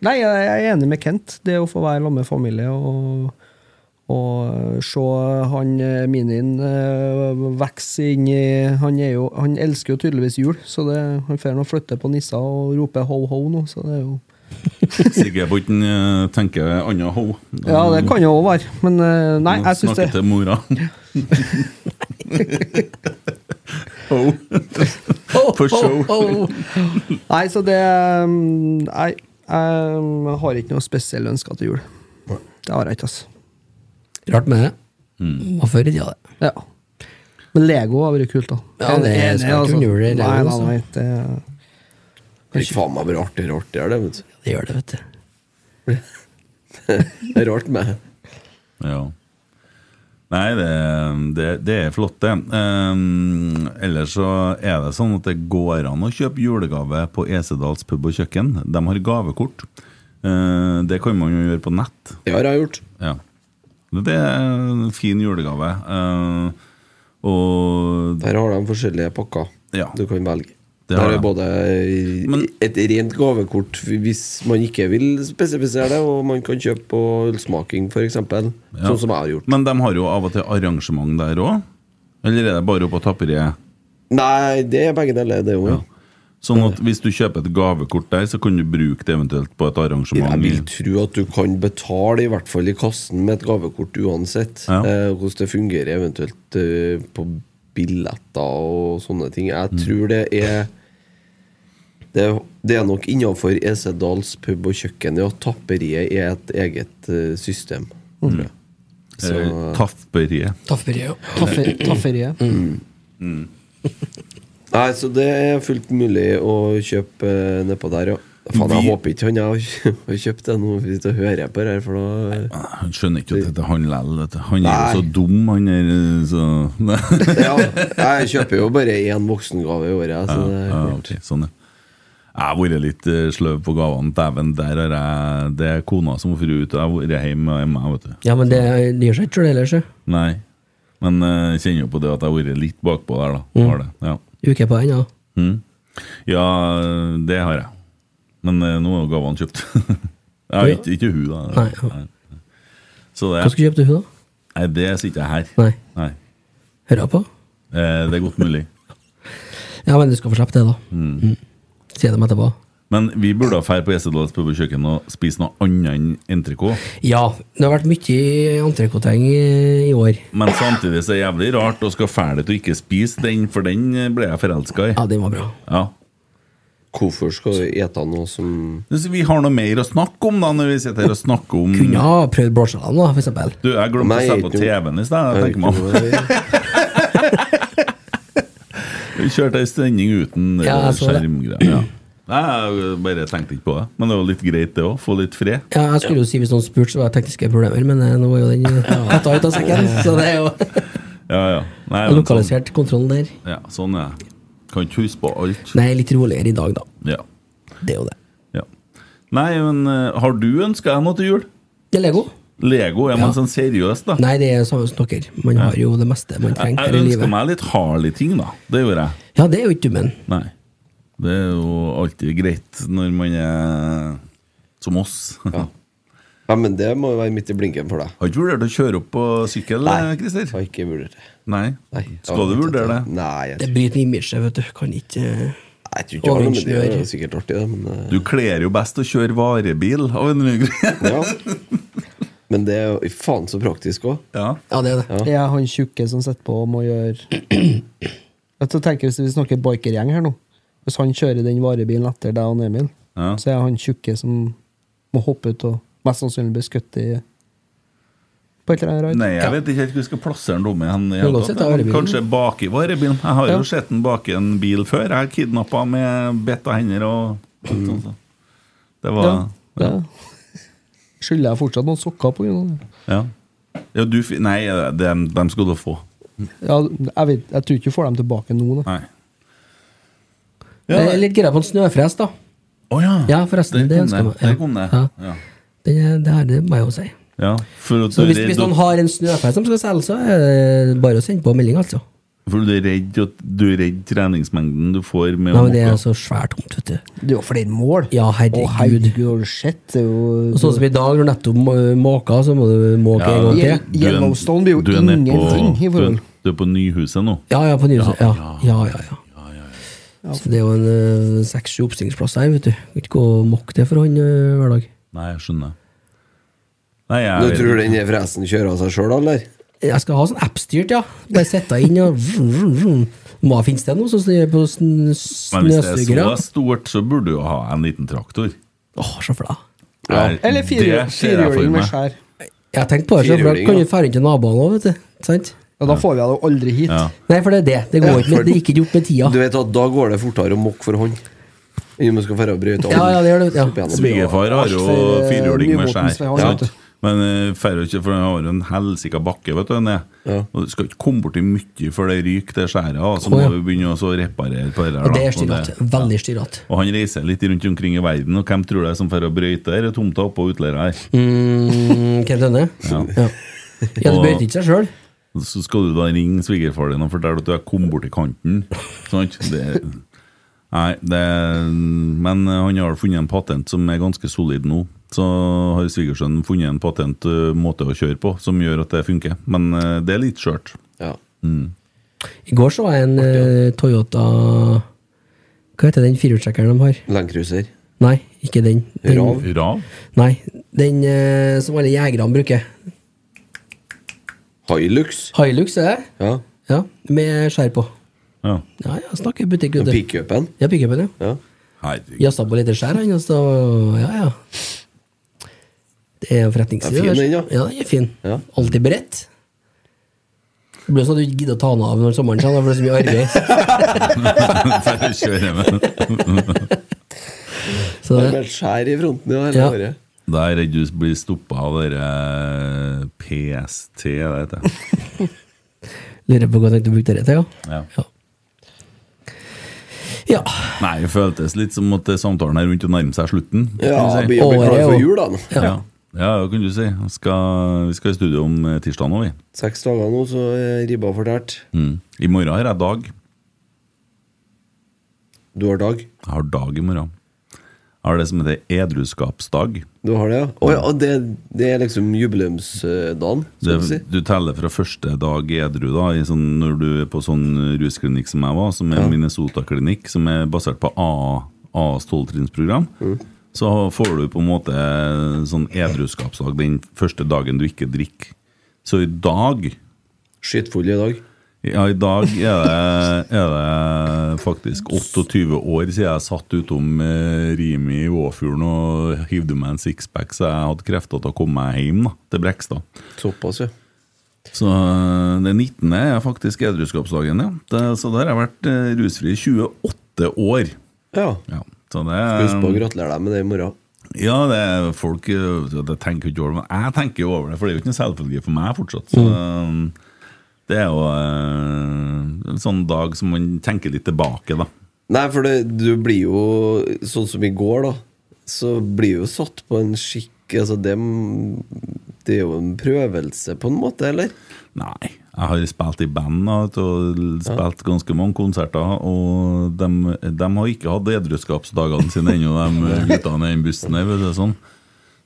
Nei, jeg jeg er enig med Kent. Det å få være sammen med familie og, og se han eh, minien eh, vokse inn i han, er jo, han elsker jo tydeligvis jul, så det, han får nå flytte på nisser og rope ho-ho nå, så det er jo Sikkert på ikke han, eh, tenker annet ho. Ja, det kan jo òg være, men eh, nei, jeg syns det Snakke til mora. ho. For show. Nei, så det mm, Nei, jeg har ikke noe spesielle ønsker til jul. Det har jeg ikke, altså. Rart med det. Mm. Var før i tida, det. Ja. Men Lego har vært kult, da. Ja, det Jeg er skal ikke undervurdere Lego, Nei, nei, altså. nei, det, Fy faen meg blir artigere og artigere, det. vet du. Det gjør det, vet du. Det er rart med Ja. Nei, det, det, det er flott, det. Um, ellers så er det sånn at det går an å kjøpe julegave på Esedals pub og kjøkken. De har gavekort. Eh, det kan man jo gjøre på nett. Det har jeg gjort. Ja. Det er en fin julegave. Eh, og Der har de forskjellige pakker Ja. du kan velge. Det Det har Der de. er både eh, Men- et rent gavekort hvis man ikke vil spesifisere det, og man kan kjøpe på ølsmaking, f.eks. eksempel Ja. Sånn som jeg har gjort. Men de har jo av og til arrangement der òg? Eller er det bare oppe på tapperiet? Nei, det er begge deler, det òg. Sånn at hvis du kjøper et gavekort der, så kan du bruke det eventuelt på et arrangement. Jeg vil i- tro at du kan betale, i hvert fall i kassen, med et gavekort uansett. Ja. Eh, hvordan det fungerer eventuelt eh, på billetter og sånne ting. Mm. Jeg tror det er det, det er nok innafor Esedals pub og kjøkken. Ja, tapperiet er et eget eh, system. Mm. Tror jeg. Så eh, Tapperiet. Tafferi, ja. Taffer- Tafferiet. Nei, så det er fullt mulig å kjøpe eh, nedpå der, ja. Faen, jeg Vi- håper ikke han har har kjøpt det nå, hvis du hører på det her, for da Ah, Han skjønner ikke at dette er han lell. vet du. Han er jo Nei. så dum, han er eh, så ja, jeg kjøper jo bare én voksengave i året. Så det er Ja, klart. ok, sånn, ja. Jeg har vært litt eh, sløv på gavene. Dæven, der har jeg Det er kona som får ut, og jeg har vært hjemme med meg, vet du. Ja, men det det gjør seg ikke sjøl ellers, sjø. Nei. Men eh, jeg kjenner jo på det at jeg har vært litt bakpå der, da. Har det. Ja. Uke på ennå. Mm. ja, det har jeg. Men eh, nå er jo gavene kjøpt. ja, ikke, ikke hun, da. Nei, ja. Så det, Hva skal du kjøpe til hun, da? nei, det sitter jeg her. Nei. Nei. Hører jeg på? Eh, det er godt mulig. Ja, men du skal få slippe det, da. Mm. Sier dem etterpå. Men vi burde ha ferd på Gjessedals pub og kjøkken og spise noe annet enn entrecôte. Ja, det har vært mye entrecôteng i i år. Men samtidig så er det jævlig rart å skal fæle til å ikke spise den, for den eh, ble jeg forelska i. Ja, den var bra. Ja. Hvorfor skal du ete noe som Så vi har noe mer å snakke om, da, når vi sitter her og snakker om Kunne ha prøvd blåskjellene, da, for eksempel. Du, jeg glemte Nei, å sette på ikke- TV-en i sted, jeg tenker meg om. Vi kjørte ei sending uten Ja, jeg så det. skjermgreier. Ja. Nei, jeg bare tenkte ikke på det. Men det var litt greit, det òg. Få litt fred. Ja, jeg skulle jo si hvis noen spurte, så var det tekniske problemer, men eh, nå er jo den eh, tatt ut av sekken, så det er jo Ja, ja. Nei, Jeg men sånn, lokalisert kontrollen der. ja, sånn er det. Kan ikke huske på alt. Nei, litt roligere i dag, da. Ja. Det er jo det. ja. Nei, men eh, har du ønska deg noe til jul? Det er Lego. Lego? Ja, men Ja. sånn seriøst, da. Nei, det er samme som dere. Man har jo det meste man Jeg, trenger her jeg i ønsker livet. meg litt Harley ting, da. Det gjør jeg. Ja, det er jo ikke dummen. Nei. Det er jo alltid greit når man er som oss. Ja, men det må jo være midt i blinken for deg. Har ikke vurdert å kjøre opp på sykkel, eh, Nei. Christer? Har ikke vurdert det. Nei. Nei, jeg Skal har du ikke vurdere tatt det? Nei, jeg Det tror, bryter imaget, vet du. Kan ikke eh, jeg tror ikke jeg har noe med det. å Overingeniør. gjøre. Det er sikkert artig, det, men eh, Du kler jo best å kjøre varebil. av en eller annen grunn. ja. Men det er jo faen så praktisk òg. Ja. Ja, det er det. Ja. Jeg er han tjukke som sitter på og må gjøre Jeg tenker Hvis vi snakker bikergjeng her nå Hvis han kjører den varebilen etter deg og Emil, Ja. så er han tjukke som må hoppe ut og mest sannsynlig bli skutt i På et eller annet rart. Nei, jeg vet ikke helt hvor vi skal plassere den dumme hen. i Kan hele godt tatt. sette varebilen. Kanskje bak i varebilen. Jeg har Ja. jo sett den bak i en bil før. Jeg har kidnappa med bitt av hender og sånn. så. Det var Ja, det skylder jeg fortsatt noen sokker på grunn av det. Ja. ja du, fi- nei, dem, dem skal du få. Ja, jeg, vet, jeg tror ikke du får dem tilbake nå. Da. Nei. Jeg er litt gira på en snøfres, da. Å ja. Eh, Ja, forresten, det Der kom ønsker jeg meg. det. Der kom det. Ja. Ja. Det, det her det må jeg jo si. Ja, for at du Så er hvis, redd hvis noen at- har en snøfres som skal selge, så er det bare å sende på melding, altså. for du er redd at du er redd treningsmengden du får med Nei, men det Omoka. er så svært tomt, vet du. Det er jo flere mål. Ja, herregud. Å, herregud har du sett? Det er jo Og sånn som i dag, når nettopp må- måka, så må du måke Ja, en gang Ye- til. du er- Yellowstone blir jo du er nede på- ingenting i forhold. du er- Du er på Nyhuset nå? Ja, ja, på nyhuset. Ja, ja, ja. ja. Så det er jo en eh, seks-sju oppstillingsplasser her, vet du. Kan ikke gå og mokke det for han eh, hver dag. Nei, jeg skjønner. Nei, jeg Du tror den der fresen kjører av seg sjøl, eller? Jeg skal ha sånn app-styrt, ja. Bare sitte inn og vroom, vroom, vroom. Må jeg finnes det nå, sånn som det er på Men sn- hvis det er snøsugere? så stort, så burde du jo ha en liten traktor. Åh, så flau. Nei, Eller fire- det ser jeg for firehjuling med meg. skjær. Jeg tenkte på det, så for da Firhjuling, kan ja. du dra inn til naboene òg, vet du. Sant? Ja, da får vi det jo aldri hit. Ja. Nei, for det er det. Det går ikke med, det er ikke gjort med Du tida. vet at da går det fortere å mokke for hånd. Enn om du skal dra og brøyte Ja, ja, det gjør det. Ja. opp igjennom. Svigerfar har jo Alt for, eh, firhjuling med Nyvåtens skjær. vei, Ja. vet du. Men eh, færre ikke, for han har jo en helsika bakke, vet du. ned. Ja. Og du skal ikke komme borti mye før det ryker, det skjæret. og Så Å, må ja. vi begynne også å reparere på det der. Og det da. er styrete. Veldig styrete. og han reiser litt rundt omkring i verden, og hvem tror det er som drar og brøyter disse tomta oppå utleia her? Mm, Kent Lønne? Ja. Ja. ja, det brøyter ikke seg sjøl. Så skal du da ringe svigerfar din og fortelle at du har kommet bort til kanten. Sant? Det, nei, det Men han har funnet en patent som er ganske solid nå. Så har svigersønnen funnet en patent eh, måte å kjøre på som gjør at det funker. Men eh, det er litt skjørt. Ja. I går så jeg en eh, Toyota Hva heter den firehjulstrekkeren de har? Landcruiser. Nei, ikke den. den Rav. Rav? nei, den eh, som alle jegerne bruker. Hilux. Hilux er det? Ja. Ja, med skjær på. Ja. Ja, ja, snakker butikk, vet du. Pickupen. Ja, pickupen, ja. Ja. Herregud. Jazza på litt skjær, han, altså, og så Ja, ja. Det er jo forretningsside. Den er fin, der. den, ja. Ja, den er fin. Ja. Alltid beredt. Det blir jo sånn at du ikke gidder å ta den av når sommeren kommer, for det er så mye arbeid. For å kjøre med. Så Det det, er et skjær i fronten Eh, ja, hele Ja. året. Da er jeg redd du blir stoppa av eh, dere PST, det heter det. lurer på hva jeg tenkte å bruke det til, ja. Ja. ja. Ja, Nei, det føltes litt som at eh, samtalen er rundt å nærme seg slutten. Ja, altså, kan du si. begynner å bli Året klar er jo- for jul, da. nå. Ja. Ja, ja det kan du si. Jeg Skal, vi skal i studio om eh, tirsdag nå, vi. Seks dager nå, så er ribba fortært. Mm. I morgen har jeg dag. Du har dag. Jeg har dag i morgen. Jeg har det som heter edruskapsdag. Du har det, ja? Å ja, og det, det er liksom jubileumsdagen, Det, skal vi si. du teller fra første dag edru, da, i sånn, når du er på sånn rusklinikk som jeg var, som er Minnesota-klinikk, som er basert på AA AAs tolvtrinnsprogram. Mm. Så får du på en måte sånn edruskapsdag den første dagen du ikke drikker. Så i dag Skytfull i dag. Ja, i dag er det, er det faktisk 28 år siden jeg satt utom eh, Rimi i Åfjorden og hivde meg en sixpack, så jeg hadde krefter til å komme meg hjem da, til Brekstad. Såpass, ja. Så eh, den 19. er faktisk edruskapsdagen, ja. Det, så der har jeg vært eh, rusfri i 28 år. Ja. Ja, så det Husk på å gratulere deg med det i morgen. ja, det er folk eh, det tenker jo ikke over det, men jeg tenker jo over det, for det er jo ikke noe selvfølge for meg fortsatt. Så, eh, Det er jo eh, en sånn dag som man tenker litt tilbake, da. Nei, for det, du blir jo sånn som i går, da. Så blir jo satt på en skikk Altså, det, det er jo en prøvelse, på en måte, eller? Nei. Jeg har spilt i band da, vet du, og spilt ganske mange konserter, og de, har ikke hatt edruskapsdagene sine ennå, de guttene i den bussen der, vet du, sånn.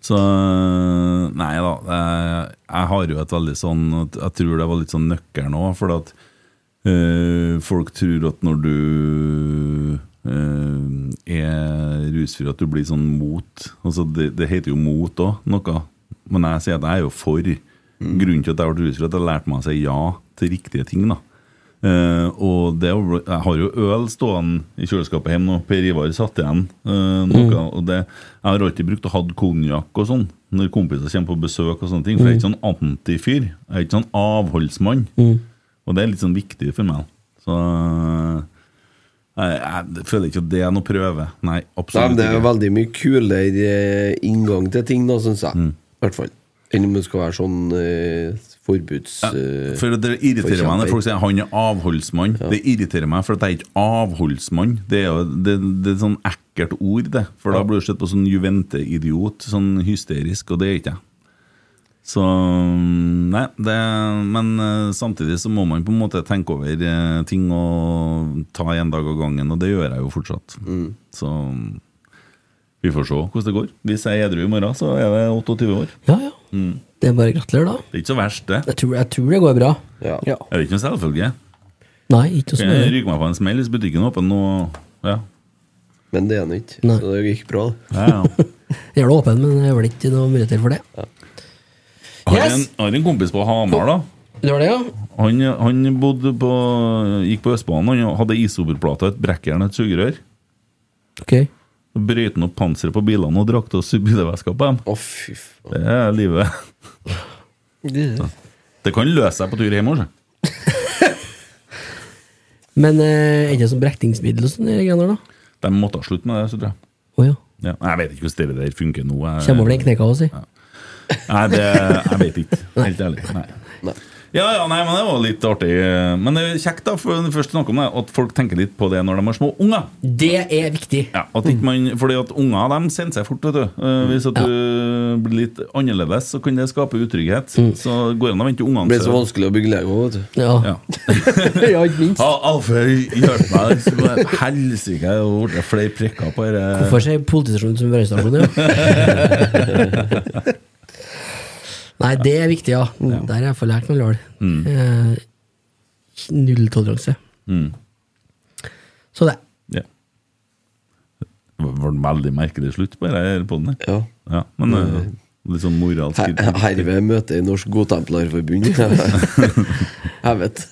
Så Nei da. Jeg, jeg har jo et veldig sånn at Jeg tror det var litt sånn nøkkelen òg, for at eh, folk tror at når du eh, er rusfri, at du blir sånn mot. Altså, det, det heter jo mot òg, noe. Men jeg sier at jeg er jo for. Grunnen til at jeg ble rusfri, er at jeg lærte meg å si ja til riktige ting. da. Eh, og det, er jo- jeg har jo øl stående i kjøleskapet hjemme nå. Per Ivar satt igjen eh, noe. Og det, jeg har alltid brukt å ha konjakk og sånn når kompiser kommer på besøk. og sånne ting For jeg er ikke sånn antifyr. Jeg er ikke sånn avholdsmann. Og det er litt sånn viktig for meg. Så eh, jeg, jeg føler ikke at det er noe prøve. Nei, Nei, men absolutt det er jo ikke. veldig mye kulere eh, inngang til ting, da, syns jeg. I hvert fall. Enn om det skal være sånn eh, forbuds... eh, For det irriterer meg når folk sier han er avholdsmann. Det irriterer meg, for at jeg er ikke avholdsmann. Det er jo det, det er sånn ekkelt ord, det. For da blir du sett på som juvente-idiot, sånn hysterisk, og det er ikke jeg. Så Nei, det Men eh, samtidig så må man på en måte tenke over eh, ting og ta en dag av gangen, og det gjør jeg jo fortsatt. Så vi får se hvordan det går. Hvis jeg er edru i morgen, så er det 28 år. Ja, ja. Mm. Det er bare å gratulere, da. Det er ikke så verst, det. Jeg tror, jeg tror det går bra. ja. Ja. Det er jo ikke noe selvfølge. Nei, ikke noe Kan jeg sånn. ryke meg på en smell hvis butikken er åpen nå? Ja. Men det er han ikke. Nei. Så det gikk bra. det. ja, ja. Jeg er da åpen, men det er vel ikke noen muligheter for det. Har, Yes! en, har en kompis på Hamar, da. Det var det, ja? Han, han bodde på, gikk på Østbanen. Han hadde isoperplate, et brekkjern og et sugerør. Ok. Så Brøyte han opp panseret på bilene og drakk til oss bilveska på dem. Å, fy faen. Det er livet. Det kan løse seg på tur hjemme altså. også. Men eh, er det som brekningsmiddel og sånne greier der, da? De måtte ha slutt med det, så tror jeg. Å ja. Ja. Jeg vet ikke hvordan det der funker nå. Jeg, Kjem over den knekka også, si. Nei, det, jeg vet ikke. Helt ærlig. Nei. Nei. Ja, ja, nei, men det var litt artig. Men det er kjekt da, for når vi først snakker om det, at folk tenker litt på det når de har små unger. Det er viktig. Ja, at ikke man, fordi at unger de sender seg fort, vet du. Eh, hvis at du blir litt annerledes, så kan det skape utrygghet. Så går det an å vente til Det ungene Mm. ble så vanskelig å bygge Lego, vet du. Ja. Ja. ja, ikke minst. Ja, Alfred, hjelp meg. Så må jeg- Helsike, det har blitt flere prikker på dette. Hvorfor sier politistasjonen som brannstasjon, ja? Nei, det er viktig, ja. Der har jeg iallfall lært noe lol. Mm. Eh, Nulltoleranse. Mm. Så det. Ja. Det var en veldig merkelig slutt på dette på den her. Ja. Ja, men eh, litt sånn moralsk Her- Herved møter jeg Norsk Godtemplerforbund. Jeg vet.